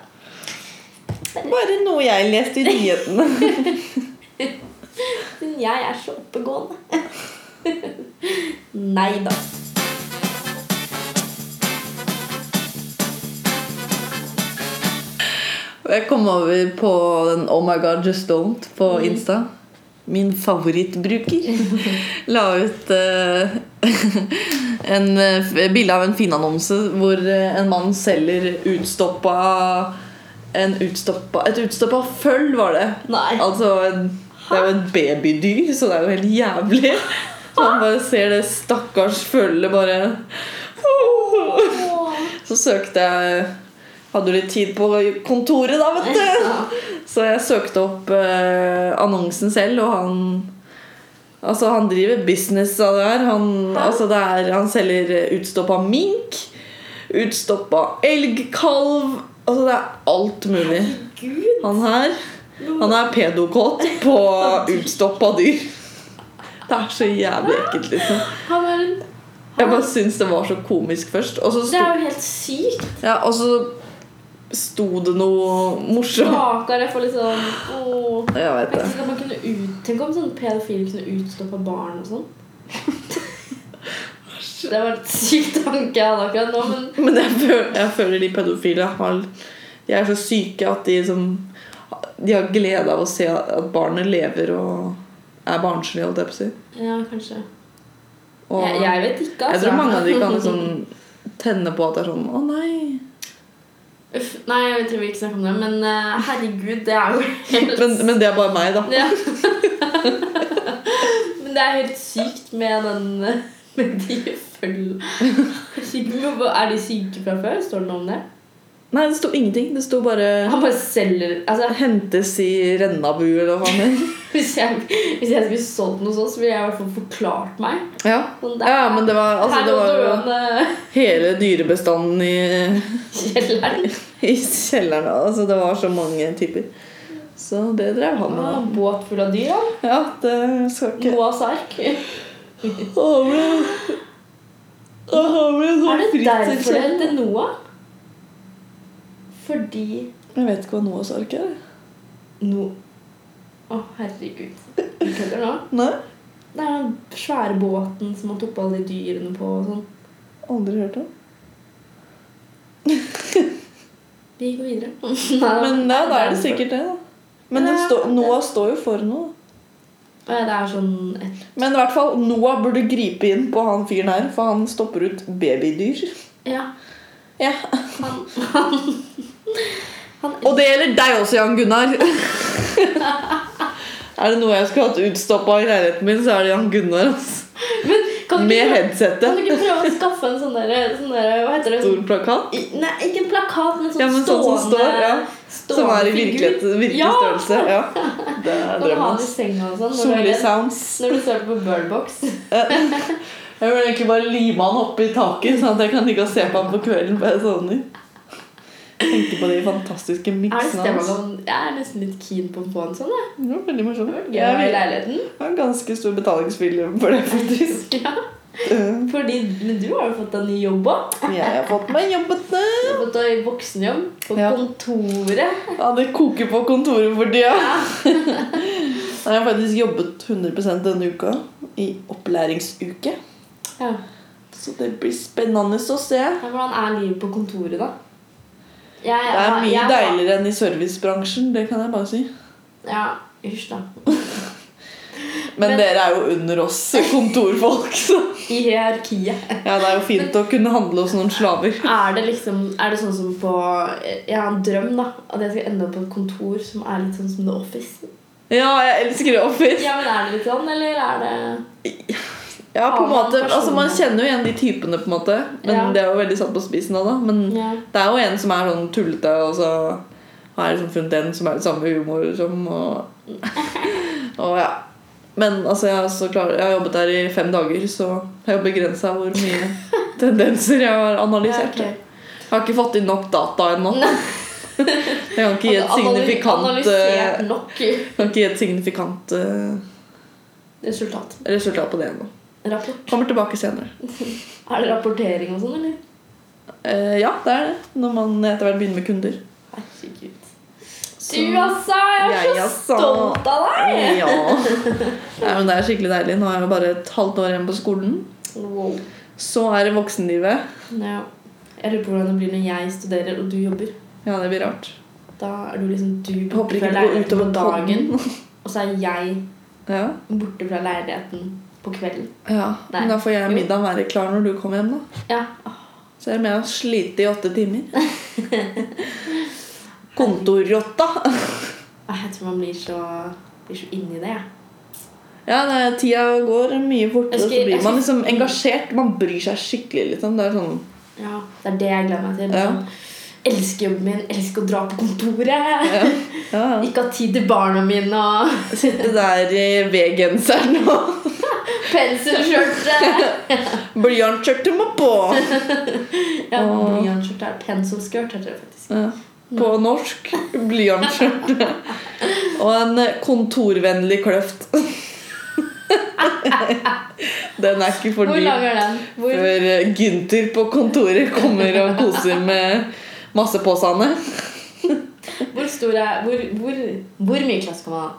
Speaker 1: Bare noe jeg leste i nyhetene.
Speaker 2: Men jeg er så oppegående. Nei da.
Speaker 1: Jeg kom over på den Oh my god, just don't på Insta. Min favorittbruker la ut eh, en eh, bilde av en Finn-annonse hvor eh, en mann selger utstoppa en utstoppa, Et utstoppa føll, var det.
Speaker 2: Nei.
Speaker 1: Altså, en- det er jo et babydyr, så det er jo helt jævlig. Så han bare ser det stakkars føllet bare
Speaker 2: Åh.
Speaker 1: Så søkte jeg Hadde jo litt tid på kontoret, da, vet du. Så jeg søkte opp eh, annonsen selv, og han Altså, han driver business av det her. Han, altså, det er, han selger eh, utstoppa mink, utstoppa elgkalv Altså, det er alt mulig.
Speaker 2: Gud.
Speaker 1: Han her Han er pedokåt på utstoppa dyr. Det er så jævlig ekkelt, liksom.
Speaker 2: Han var en
Speaker 1: Jeg bare syns det var så komisk først. Og så
Speaker 2: Det
Speaker 1: sto,
Speaker 2: er jo helt sykt.
Speaker 1: ja, og så sto det noe morsomt.
Speaker 2: Stakkar. Jeg får litt sånn åh.
Speaker 1: Jeg vet det.
Speaker 2: Tenk om, man kunne ut, tenk om sånne pedofile kunne utstoppe barn og sånn. Det var en syk tanke jeg hadde akkurat nå, men
Speaker 1: Men jeg føler, jeg føler de pedofile har De er så syke at de liksom De har glede av å se at barnet lever og er barnslig, holdt jeg på å si.
Speaker 2: ja, kanskje.
Speaker 1: Og
Speaker 2: Jeg, jeg vet ikke, altså.
Speaker 1: jeg tror mange av de kan liksom tenne på at det er sånn Å, nei.
Speaker 2: Uff, nei, jeg tror vi ikke snakker om det, men eh, herregud, det er jo helt
Speaker 1: Men, men det er bare meg, da.
Speaker 2: Ja. Men det er helt sykt med den eh, Med de føll... Herregud, men hva- Er de syke fra før? Står det noe om det?
Speaker 1: Nei, det sto ingenting. Det sto bare
Speaker 2: Han bare selger Altså,
Speaker 1: Hentes i Rennabu eller hva faen. det er.
Speaker 2: hvis jeg, hvis jeg skulle solgt noe sånt, så ville jeg i hvert fall forklart meg.
Speaker 1: Ja.
Speaker 2: Sånn, det
Speaker 1: ja, men det var altså,
Speaker 2: her
Speaker 1: det
Speaker 2: lå
Speaker 1: var jo
Speaker 2: dørene
Speaker 1: hele dyrebestanden i,
Speaker 2: kjelleren.
Speaker 1: i kjelleren. Altså, det var så mange typer. Så det drev han med. da.
Speaker 2: Ah, Båt full av dyr, ja.
Speaker 1: Ja, det skal ikke
Speaker 2: Noahs ark.
Speaker 1: Å, men- Å, men så
Speaker 2: Er det
Speaker 1: fritt
Speaker 2: derfor det
Speaker 1: til-
Speaker 2: heter Noah? Fordi
Speaker 1: Jeg vet ikke hva Noahs ark er.
Speaker 2: No... Å, herregud. Du kødder nå?
Speaker 1: Nei,
Speaker 2: Det er den svære båten som han tok på alle de dyrene på og sånn.
Speaker 1: aldri hørt om.
Speaker 2: Vi går videre. Neida.
Speaker 1: Men ja, da er det sikkert det, da. Men det står- Noah står jo for noe.
Speaker 2: Å ja, Det er sånn et,
Speaker 1: Men i hvert fall, Noah burde gripe inn på han fyren her, for han stopper ut babydyr.
Speaker 2: Ja.
Speaker 1: Ja.
Speaker 2: Han Han, han
Speaker 1: Og det gjelder deg også, Jan Gunnar. er det noe jeg skulle hatt utstoppa i leiligheten min, så er det Jan Gunnar. ass.
Speaker 2: Men kan du,
Speaker 1: Med
Speaker 2: ikke, prøve- kan du
Speaker 1: headsetet.
Speaker 2: ikke prøve å skaffe en sånn derre sånn der, Hva heter det?
Speaker 1: Stor plakat.
Speaker 2: I- Nei, ikke en plakat, men sånn
Speaker 1: Ja, men sånn som
Speaker 2: stående
Speaker 1: står, ja.
Speaker 2: stående
Speaker 1: Som er i
Speaker 2: figur.
Speaker 1: virkelighet, virkelig
Speaker 2: Ja!
Speaker 1: størrelse. Ja. Det er
Speaker 2: Kan du ha
Speaker 1: drømmen.
Speaker 2: den i
Speaker 1: ass.
Speaker 2: senga og sånn? Når, du er
Speaker 1: Solli
Speaker 2: redd.
Speaker 1: sounds.
Speaker 2: når du ser på Birdbox.
Speaker 1: Jeg vil egentlig bare lime han opp i taket, sånn at jeg kan ligge og se på han på kvelden. Bare sånn. Tenke på de fantastiske
Speaker 2: Er det
Speaker 1: miksene
Speaker 2: stemmer
Speaker 1: hans.
Speaker 2: man Jeg er nesten litt keen på å få en sånn. Jeg.
Speaker 1: Det var veldig morsomt.
Speaker 2: Gøy å
Speaker 1: Jeg
Speaker 2: ha i
Speaker 1: vil-
Speaker 2: leiligheten.
Speaker 1: jeg har ganske stor betalingsvilje for det, faktisk.
Speaker 2: Ja.
Speaker 1: Eh,
Speaker 2: Fordi, men du har jo fått deg ny jobb òg.
Speaker 1: Jeg har fått meg jobbete.
Speaker 2: Du har fått deg voksenjobb på
Speaker 1: Ja.
Speaker 2: kontoret.
Speaker 1: Ja, det koker på kontoret for tida. Nei, Jeg har faktisk jobbet 100 denne uka, i opplæringsuke.
Speaker 2: Ja.
Speaker 1: Så det blir spennende å se.
Speaker 2: Hvordan er livet på kontoret, da? Jeg,
Speaker 1: Det er
Speaker 2: har-
Speaker 1: mye
Speaker 2: jeg, har-
Speaker 1: deiligere enn i servicebransjen, det kan jeg bare si.
Speaker 2: Ja, hysj, da.
Speaker 1: Men,
Speaker 2: Men-
Speaker 1: dere er jo under oss kontorfolk, så
Speaker 2: I hierarkiet.
Speaker 1: Ja, det er jo fint å kunne handle hos noen slaver.
Speaker 2: Er det liksom Er det sånn som på Jeg har en drøm, da. At jeg skal ende opp på et kontor som er litt sånn som The Office.
Speaker 1: Ja, jeg elsker det Office.
Speaker 2: Ja, men er det litt sånn, eller er det
Speaker 1: Ja, på en
Speaker 2: Har man
Speaker 1: måte, altså Man
Speaker 2: personer?
Speaker 1: kjenner jo igjen de typene, på en måte. Men
Speaker 2: Ja.
Speaker 1: det er jo veldig satt på spissen av, da. Men
Speaker 2: Ja.
Speaker 1: det er jo en som er sånn tullete, og så har jeg liksom funnet en som er det samme humor som, og, og ja. Men altså, jeg, har så klar, jeg har jobbet der i fem dager, så jeg har begrensa hvor mye tendenser jeg har analysert.
Speaker 2: Ja, ok.
Speaker 1: Jeg har ikke fått inn nok data ennå. Jeg kan ikke gi et
Speaker 2: Analy-
Speaker 1: signifikant,
Speaker 2: Analysert
Speaker 1: eh,
Speaker 2: nok
Speaker 1: kan ikke gi et signifikant eh,
Speaker 2: resultat.
Speaker 1: resultat på det ennå.
Speaker 2: Rapport.
Speaker 1: Kommer tilbake senere.
Speaker 2: Er det rapportering og sånn, eller?
Speaker 1: Eh, ja, det er det. Når man etter hvert begynner med kunder.
Speaker 2: Herregud.
Speaker 1: Så-
Speaker 2: Du, altså! Jeg
Speaker 1: Jeg,
Speaker 2: er så
Speaker 1: altså.
Speaker 2: stolt av deg!
Speaker 1: Ja. Nei, men det er skikkelig deilig. Nå er det bare et halvt år igjen på skolen.
Speaker 2: Wow.
Speaker 1: Så er det voksenlivet.
Speaker 2: Ja. Jeg lurer på hvordan det blir når jeg studerer og du jobber.
Speaker 1: Ja, det blir rart.
Speaker 2: Da er du liksom du
Speaker 1: Jeg håper ikke det
Speaker 2: fra
Speaker 1: går
Speaker 2: leiligheten
Speaker 1: utover
Speaker 2: på dagen,
Speaker 1: dagen.
Speaker 2: og så er jeg
Speaker 1: Ja.
Speaker 2: borte fra leiligheten på kvelden.
Speaker 1: ja.
Speaker 2: Nei.
Speaker 1: Men da får jeg
Speaker 2: Jo.
Speaker 1: middagen være klar når du kommer hjem, da.
Speaker 2: Ja.
Speaker 1: Selv om jeg har slitt i åtte timer. Kontorrotta.
Speaker 2: Åh, Ah, Jeg tror man blir så, blir så inni det, jeg.
Speaker 1: Ja, nei, tida går mye fortere,
Speaker 2: Jeg
Speaker 1: og så
Speaker 2: skal- jeg
Speaker 1: blir
Speaker 2: skal-
Speaker 1: man liksom engasjert. Man bryr seg skikkelig, liksom. Det er sånn
Speaker 2: Ja, det er det jeg gleder meg til.
Speaker 1: Ja.
Speaker 2: Sånn, Elsker jobben min, elsker å dra på kontoret.
Speaker 1: ja, ja.
Speaker 2: Ikke ha tid til barna mine og
Speaker 1: Sitte der i V-genseren og
Speaker 2: penselskjørte.
Speaker 1: Blyantskjørtet må på!
Speaker 2: Ja,
Speaker 1: Åh.
Speaker 2: blyantskjørte er penselskjørt, heter det faktisk.
Speaker 1: Ja, På norsk. Blyantskjørte. Og en eh, kontorvennlig kløft. Den er ikke for
Speaker 2: Hvor
Speaker 1: dyp
Speaker 2: lang er den? Hvor?
Speaker 1: før Gynter på kontoret kommer og koser med massepåsene.
Speaker 2: Hvor stor er Hvor, hvor, hvor mye klasse kan man ha?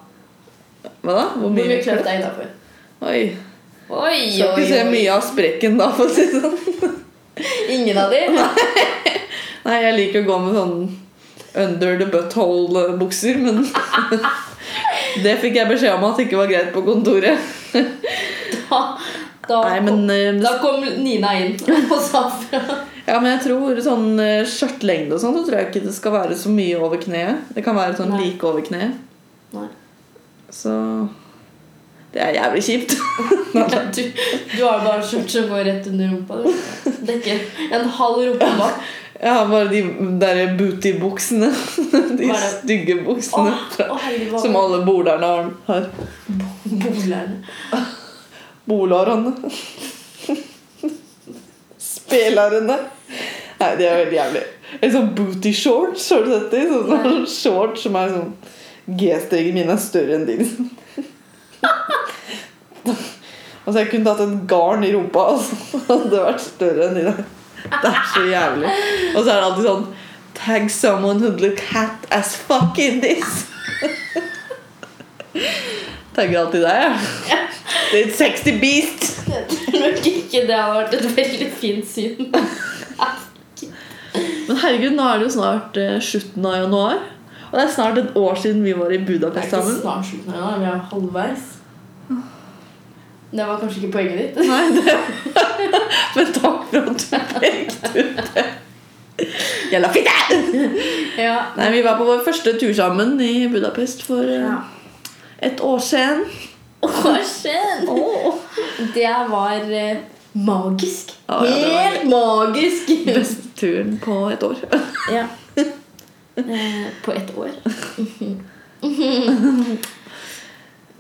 Speaker 1: Hva da?
Speaker 2: Hvor mye kløft
Speaker 1: kløft?
Speaker 2: er innafor?
Speaker 1: Oi.
Speaker 2: Oi,
Speaker 1: Skal ikke se mye av sprekken da, for å si det sånn.
Speaker 2: Ingen av de?
Speaker 1: Nei, jeg liker å gå med sånn under the butthole-bukser, men Det fikk jeg beskjed om at ikke var greit på kontoret.
Speaker 2: Da, da,
Speaker 1: Nei, men, eh,
Speaker 2: da kom Nina inn og sa fra.
Speaker 1: ja, men jeg tror sånn eh, skjørtlengde og sånn, så tror jeg ikke det skal være så mye over kneet. Det kan være sånn
Speaker 2: Nei.
Speaker 1: like over kneet.
Speaker 2: Nei.
Speaker 1: Så Det er jævlig kjipt.
Speaker 2: Du, du har bare skjørt som går rett under rumpa. Du. Dekker en halv rumpe bak.
Speaker 1: Jeg har bare de der booty-buksene. De
Speaker 2: Hva er det?
Speaker 1: stygge
Speaker 2: Å,
Speaker 1: buksene fra,
Speaker 2: å, herregud, hva-
Speaker 1: sånn som alle bolerne har. har.
Speaker 2: Bolerne.
Speaker 1: Bolerne. Spelerne. Nei, det er veldig jævlig. En sånn booty shorts, har du sett det? Sånn, sånn,
Speaker 2: Nei.
Speaker 1: shorts som er sånn G-streken min er større enn din. Liksom. altså, jeg kunne tatt et garn i rumpa, altså. Det hadde vært større enn de der. Det er så jævlig. Og så er det alltid sånn Tag someone who'd look hat as fuck in this. Tagger alltid deg, jeg. Det er et sexy beast.
Speaker 2: Jeg tror nok ikke det hadde vært et veldig fint syn.
Speaker 1: Men herregud, nå er det jo snart eh, slutten av januar. Og det er snart et år siden vi var i
Speaker 2: Det er
Speaker 1: Budapest
Speaker 2: ikke
Speaker 1: sammen.
Speaker 2: snart slutten ennå. Vi er halvveis. Det var kanskje ikke poenget ditt.
Speaker 1: Nei, det Men takk for at du pekte ut det. Jævla fitte!
Speaker 2: Ja.
Speaker 1: Nei, vi var på vår første tur sammen i Budapest for eh,
Speaker 2: ja.
Speaker 1: et år siden.
Speaker 2: Hva skjedde? Det var eh, magisk.
Speaker 1: Ja, ja, det var
Speaker 2: Helt magisk!
Speaker 1: Beste turen på et år.
Speaker 2: Ja. Eh, På ett år. Mhm.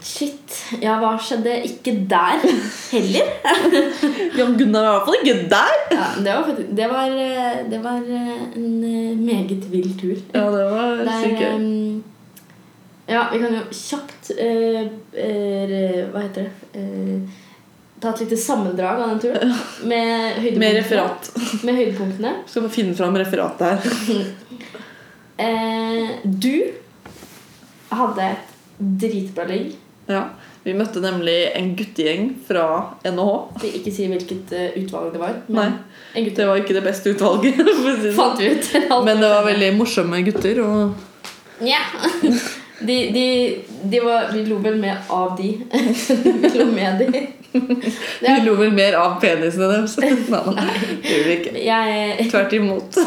Speaker 2: Shit. Ja, hva skjedde ikke der heller?
Speaker 1: Jan Gunnar var i hvert fall ikke der.
Speaker 2: Ja, det var, faktisk, det var, eh, det var eh, en eh, meget vill tur.
Speaker 1: Ja, det var
Speaker 2: Der,
Speaker 1: sykt gøy.
Speaker 2: ehm, ja, vi kan jo kjapt eh, eh, Hva heter det? Eh, ta et lite sammendrag av den turen. Med høydepunktene.
Speaker 1: Med referat.
Speaker 2: Med høydepunktene.
Speaker 1: Skal bare finne fram referatet her.
Speaker 2: Eh, du hadde et dritbra ligg.
Speaker 1: Ja. Vi møtte nemlig en guttegjeng fra NHH.
Speaker 2: De ikke sier hvilket eh, utvalg det var.
Speaker 1: Nei,
Speaker 2: Men en gutt
Speaker 1: det var ikke det beste utvalget. for å si det sånn.
Speaker 2: fant vi ut.
Speaker 1: Men det var veldig morsomme gutter. Og...
Speaker 2: Nja. De, de, de var, vi lo vel mer av de. vi lo med de.
Speaker 1: Vi
Speaker 2: Ja.
Speaker 1: lo vel mer av penisene deres. Nei, nei, det gjorde vi ikke.
Speaker 2: Jeg,
Speaker 1: Tvert imot.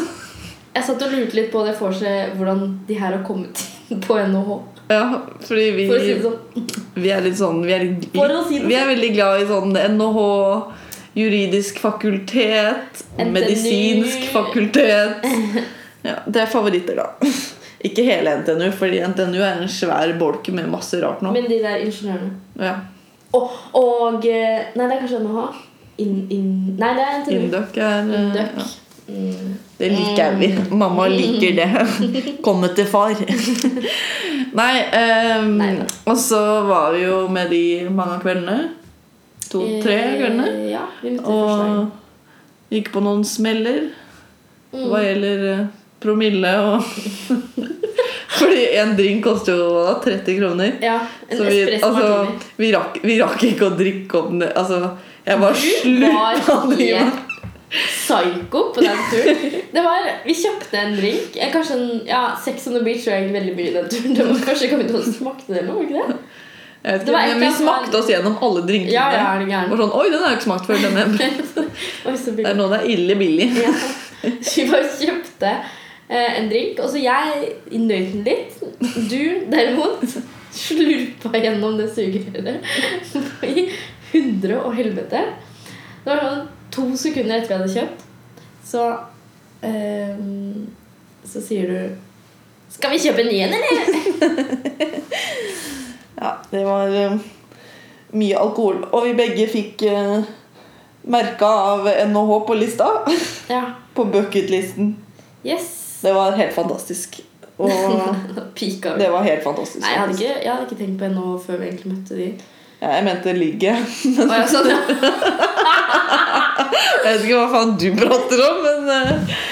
Speaker 2: jeg satt og lurte litt på det for seg hvordan de her har kommet inn på NHH.
Speaker 1: Ja, fordi vi,
Speaker 2: For å si det sånn.
Speaker 1: vi er litt sånn Vi er, litt,
Speaker 2: For å si det
Speaker 1: vi er veldig glad i sånn NHH, juridisk fakultet,
Speaker 2: NTNU.
Speaker 1: medisinsk fakultet. Ja, det er favoritter, da. Ikke hele NTNU, fordi NTNU er en svær bolk med masse rart nå.
Speaker 2: sånn. Men de der ingeniørene.
Speaker 1: Ja,
Speaker 2: Og, og eh, Nei, det er kanskje NHH. In, in, nei, det er NTNU.
Speaker 1: Induc er eh,
Speaker 2: Induc.
Speaker 1: ja.
Speaker 2: Mm.
Speaker 1: Det liker vi. Mamma liker det. Komme til far. Nei, ehm,
Speaker 2: Nei da.
Speaker 1: og så var vi jo med de mange kveldene. To-tre
Speaker 2: Eh,
Speaker 1: kveldene.
Speaker 2: Ja, vi møtte og...
Speaker 1: Og gikk på noen smeller
Speaker 2: Mm.
Speaker 1: hva gjelder eh, promille og Fordi en drink koster jo hva da, 30 kroner.
Speaker 2: Ja, en
Speaker 1: Så vi,
Speaker 2: espresso martini.
Speaker 1: altså, vi, rakk, vi rakk ikke å drikke opp den Altså, jeg var
Speaker 2: var
Speaker 1: slutt av det.
Speaker 2: helt psyko på den turen. Det var, vi kjøpte en drink. eh, Kanskje en, ja, Sex on the beach var egentlig veldig mye den turen. Det var kanskje kommet og smakte det, eller var det ikke det?
Speaker 1: Jeg vet
Speaker 2: Det
Speaker 1: ikke,
Speaker 2: var
Speaker 1: men
Speaker 2: egentlig
Speaker 1: vi
Speaker 2: at man-
Speaker 1: smakte oss gjennom alle drinkene.
Speaker 2: Ja, ja, er du
Speaker 1: Det
Speaker 2: gæren.
Speaker 1: var sånn, Oi, den har jeg ikke smakt før. Den er-
Speaker 2: Oi, så
Speaker 1: det
Speaker 2: billig.
Speaker 1: er nå det er ille billig.
Speaker 2: Ja. Så vi bare kjøpte eh, en drink, og så jeg nøt den litt. Du derimot slurpa gjennom det sugerøret i hundre og helvete. Det var sånn to sekunder etter vi hadde kjøpt, så eh, Så sier du Skal vi kjøpe en ny en, eller?
Speaker 1: Ja, det var eh, mye alkohol. Og vi begge fikk uh, merka av NHH på lista.
Speaker 2: Ja.
Speaker 1: På bucketlisten.
Speaker 2: Yes.
Speaker 1: Det var helt fantastisk. Og
Speaker 2: Pika.
Speaker 1: det var helt fantastisk.
Speaker 2: Nei, jeg hadde,
Speaker 1: faktisk.
Speaker 2: ikke, jeg hadde ikke tenkt på NHO før vi egentlig møtte de.
Speaker 1: Ja, jeg mente ligget.
Speaker 2: Å, ja, sånn, ja.
Speaker 1: Jeg vet ikke hva faen du prater om, men eh,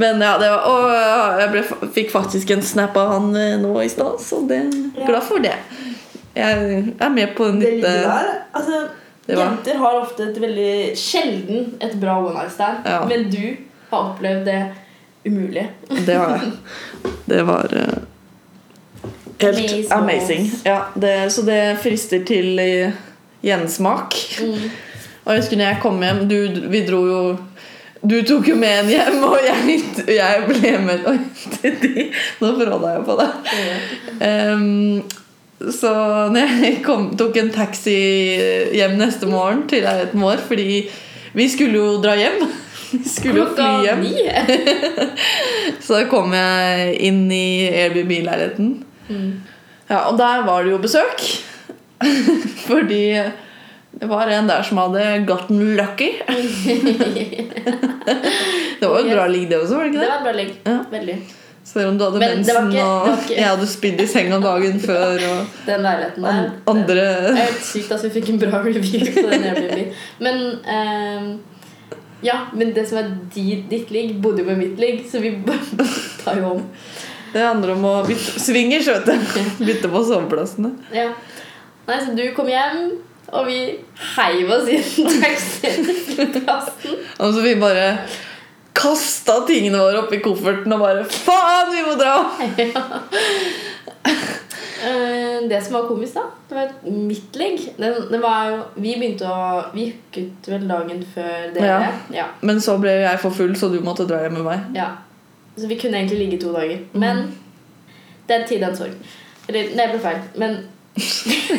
Speaker 1: men ja, det var, og ja, jeg ble, fikk faktisk en snap av han eh, nå i stad, så det,
Speaker 3: Ja.
Speaker 1: glad for det. Jeg er med på en
Speaker 3: Det
Speaker 1: litt
Speaker 3: ligger
Speaker 1: eh,
Speaker 3: der. Altså,
Speaker 1: det var-
Speaker 3: jenter har ofte et veldig
Speaker 2: sjelden et bra one night stand,
Speaker 1: Ja.
Speaker 2: men du har opplevd det umulige.
Speaker 1: Det har jeg. Det var eh, helt
Speaker 2: Amazeballs.
Speaker 1: amazing. Ja, det, så det frister til eh, gjensmak. Og jeg husker når jeg kom hjem du, Vi dro jo Du tok jo med en hjem, og jeg, jeg ble med Oi, de- nå forholda jeg på det.
Speaker 2: Mm.
Speaker 1: Ehm, så når jeg kom, tok en taxi hjem neste morgen til leiligheten vår, fordi vi skulle jo dra hjem. Vi skulle jo fly hjem.
Speaker 2: ni!
Speaker 1: Så kom jeg inn i Airbnb-leiligheten.
Speaker 2: Mm.
Speaker 1: Ja, og der var det jo besøk. Fordi det var en der som hadde gotten lucky. Det var jo et bra ligg, det også, var det
Speaker 2: Det
Speaker 1: ikke det?
Speaker 2: var bra ligg.
Speaker 1: Ja.
Speaker 2: Veldig.
Speaker 1: Selv om du hadde
Speaker 2: Men det var
Speaker 1: mensen
Speaker 2: ikke- det var
Speaker 1: og
Speaker 2: ikke-
Speaker 1: jeg hadde spydd i senga dagen før og
Speaker 2: Den leiligheten der.
Speaker 1: an- andre
Speaker 2: Det er helt sykt at vi fikk en bra review på den Airbnb. Men ehm, ja, men det som er di- ditt ligg, bodde jo med mitt ligg, så vi bare tar jo om.
Speaker 1: Det handler om å bytte swingers, vet du. Bytte på soveplassene.
Speaker 2: Ja. Nei, så du kom hjem, og vi heiv oss i en taxi til plassen.
Speaker 1: Og så vi bare kasta tingene våre oppi kofferten og bare Faen, vi må dra!
Speaker 2: Eh, Det som var komisk, da, det var et midtlegg. Den, det var jo, vi begynte å Vi hooket vel dagen før dere. Ja.
Speaker 1: Men så ble jeg for full, så du måtte dra hjem med meg.
Speaker 2: ja. Så vi kunne egentlig ligge to dager. Men det er tid, det er en sorg. Eller, det ble feil. Men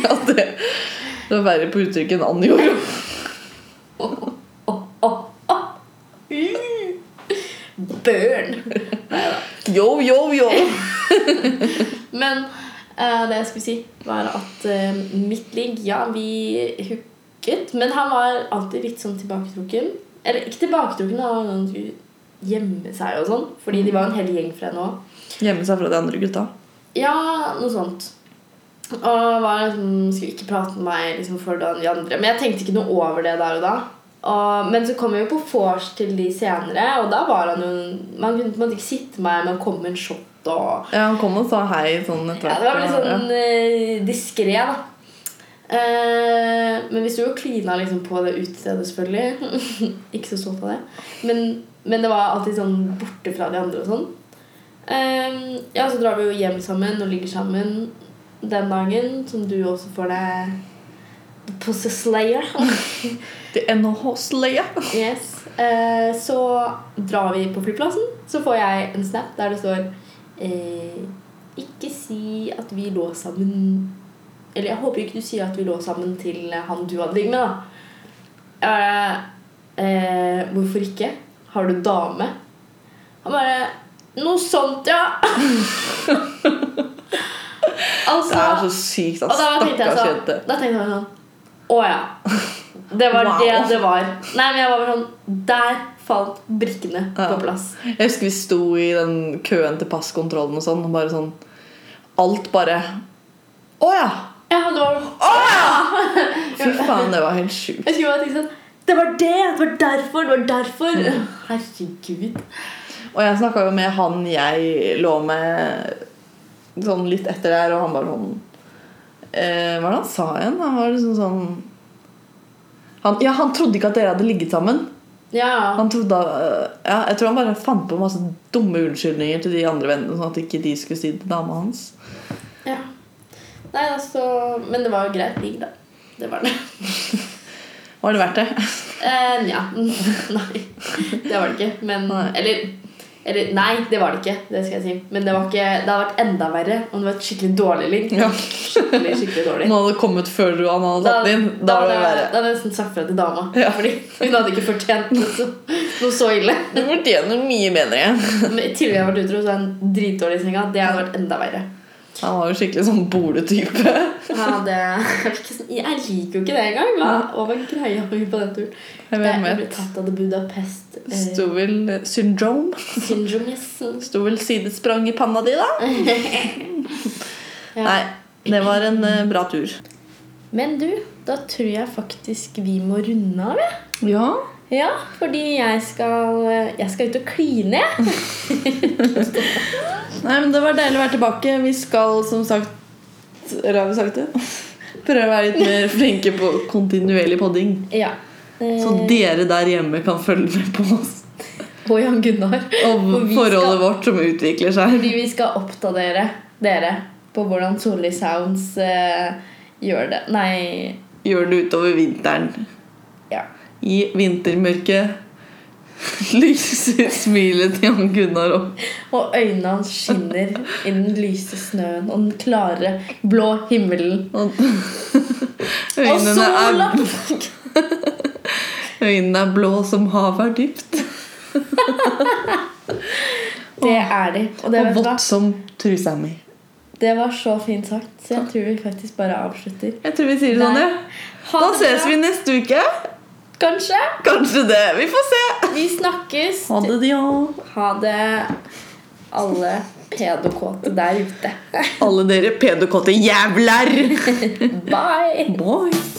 Speaker 1: Ja, det, det var verre på uttrykket enn Ann gjorde.
Speaker 2: åh, åh, åh. Burn!
Speaker 1: Yo, yo, yo!
Speaker 2: Men eh, det jeg skulle si, var at eh, mitt ligg Ja, vi hooket, men han var alltid litt sånn tilbaketrukken. Eller ikke tilbaketrukken, han var sånn skulle gjemme seg og sånn. Fordi de var en hel gjeng fra nå.
Speaker 1: Gjemme seg fra de andre gutta.
Speaker 2: Ja, noe sånt. Og var liksom, skulle ikke prate med meg liksom, foran de andre. Men jeg tenkte ikke noe over det der og da. Og, men så kom jeg jo på vors til de senere, og da var han jo Man kunne på en måte ikke sitte med meg, man kom med en shot og
Speaker 1: Ja, han kom og sa hei sånn etter
Speaker 2: ja, det var
Speaker 1: hvert,
Speaker 2: veldig
Speaker 1: ja.
Speaker 2: sånn uh, diskré, da. Eh, men vi sto jo og klina liksom på det utestedet, selvfølgelig. ikke så stolt av det. Men, men det var alltid sånn borte fra de andre og sånn. Eh, ja, så drar vi jo hjem sammen og ligger sammen den dagen, som du også får deg The Possess Layer.
Speaker 1: The NHH-leie.
Speaker 2: yes. Eh, så drar vi på flyplassen, så får jeg en snap der det står eh, Ikke si at vi lå sammen Eller jeg håper ikke du sier at vi lå sammen til han du hadde ligget med, da. Jeg bare eh, Hvorfor ikke? Har du dame? Han bare Noe sånt, ja. altså
Speaker 1: Det er så sykt at
Speaker 2: og da tenkte jeg
Speaker 1: stakkars
Speaker 2: sånn,
Speaker 1: jente.
Speaker 2: da tenkte jeg sånn Å ja. Det var
Speaker 1: Wow.
Speaker 2: det det var. Nei, men jeg var bare sånn Der falt brikkene
Speaker 1: Ja.
Speaker 2: på plass.
Speaker 1: Jeg husker vi sto i den køen til passkontrollen og sånn, og bare sånn Alt bare Å ja!
Speaker 2: Ja, det var,
Speaker 1: Fy faen, det var helt sjukt.
Speaker 2: sånn, jeg skulle bare tenke sånn Det var det! Det var derfor! Det var derfor!
Speaker 1: Mm.
Speaker 2: Herregud.
Speaker 1: Og jeg snakka jo med han jeg lå med sånn litt etter der, og han bare sånn eh, Hva var det han sa igjen? Han var liksom sånn han, Ja, han trodde ikke at dere hadde ligget sammen.
Speaker 2: Ja.
Speaker 1: Han trodde eh, ja, Jeg tror han bare fant på masse dumme unnskyldninger til de andre vennene, sånn at ikke de skulle si det til dama hans.
Speaker 2: ja. Nei, altså Men det var jo greit ligg, da. Det var det.
Speaker 1: Var det verdt det?
Speaker 2: Eh, Nja. Nei. Det var det ikke. Men
Speaker 1: Nei.
Speaker 2: Eller eller, nei, det var det ikke. Det skal jeg si. Men det, var ikke, det hadde vært enda verre om det var et skikkelig dårlig ligg.
Speaker 1: Ja.
Speaker 2: Skikkelig, skikkelig dårlig.
Speaker 1: Nå hadde det kommet før du han hadde
Speaker 2: Da,
Speaker 1: tatt inn. Da var det verre.
Speaker 2: da hadde jeg nesten sagt fra til dama.
Speaker 1: Ja.
Speaker 2: Fordi hun hadde ikke fortjent noe så, noe så ille.
Speaker 1: Du fortjener mye bedre.
Speaker 2: Men i tillegg har jeg vært utro, så er han dritdårlig i senga. Det hadde vært enda verre.
Speaker 1: Han var jo skikkelig sånn boletype.
Speaker 2: Jeg, hadde, jeg, var ikke sånn- jeg liker jo ikke det engang. Hva, hva var greia mi på den turen?
Speaker 1: Hvem
Speaker 2: jeg ble
Speaker 1: vet?
Speaker 2: tatt av det Budapest eh,
Speaker 1: Sto vel eh, syndrome?
Speaker 2: syndrome. yes.
Speaker 1: Sto vel sidesprang i panna di, da?
Speaker 2: Ja.
Speaker 1: Nei, det var en eh, bra tur.
Speaker 2: Men du, da tror jeg faktisk vi må runde av, jeg.
Speaker 1: Ja.
Speaker 2: Ja, fordi jeg skal, jeg skal ut og kline, jeg.
Speaker 1: Nei, men Det var deilig å være tilbake. Vi skal som sagt eller har vi sagt det? Prøve å være litt mer flinke på kontinuerlig podding.
Speaker 2: Ja.
Speaker 1: Så
Speaker 2: Eh.
Speaker 1: dere der hjemme kan følge med på oss
Speaker 2: Og Jan Gunnar.
Speaker 1: og
Speaker 2: Og vi
Speaker 1: forholdet
Speaker 2: skal-
Speaker 1: vårt som utvikler seg.
Speaker 2: Fordi vi skal oppdatere dere på hvordan Solli Sounds eh, gjør det. Nei
Speaker 1: Gjør det utover vinteren.
Speaker 2: ja.
Speaker 1: I vintermørket lyser smilet til Jan Gunnar opp.
Speaker 2: Og øynene hans skinner i den lyse snøen og den klare, blå himmelen.
Speaker 1: Og
Speaker 2: Og
Speaker 1: øynene
Speaker 2: sola!
Speaker 1: er, øynene er blå som havet er dypt,
Speaker 2: Det er de. Og det,
Speaker 1: og
Speaker 2: vet du hva?
Speaker 1: vått som trusa mi.
Speaker 2: det var så fint sagt, så jeg tror vi faktisk bare avslutter.
Speaker 1: Jeg tror vi sier det sånn,
Speaker 2: Nei.
Speaker 1: ja. Da ses vi neste uke.
Speaker 2: Kanskje.
Speaker 1: Kanskje det. Vi får se.
Speaker 2: Vi snakkes.
Speaker 1: Ha det, Dion.
Speaker 2: Ha det, alle pedokåte der ute.
Speaker 1: Alle dere pedokåte jævler.
Speaker 2: Bye!
Speaker 1: Bye.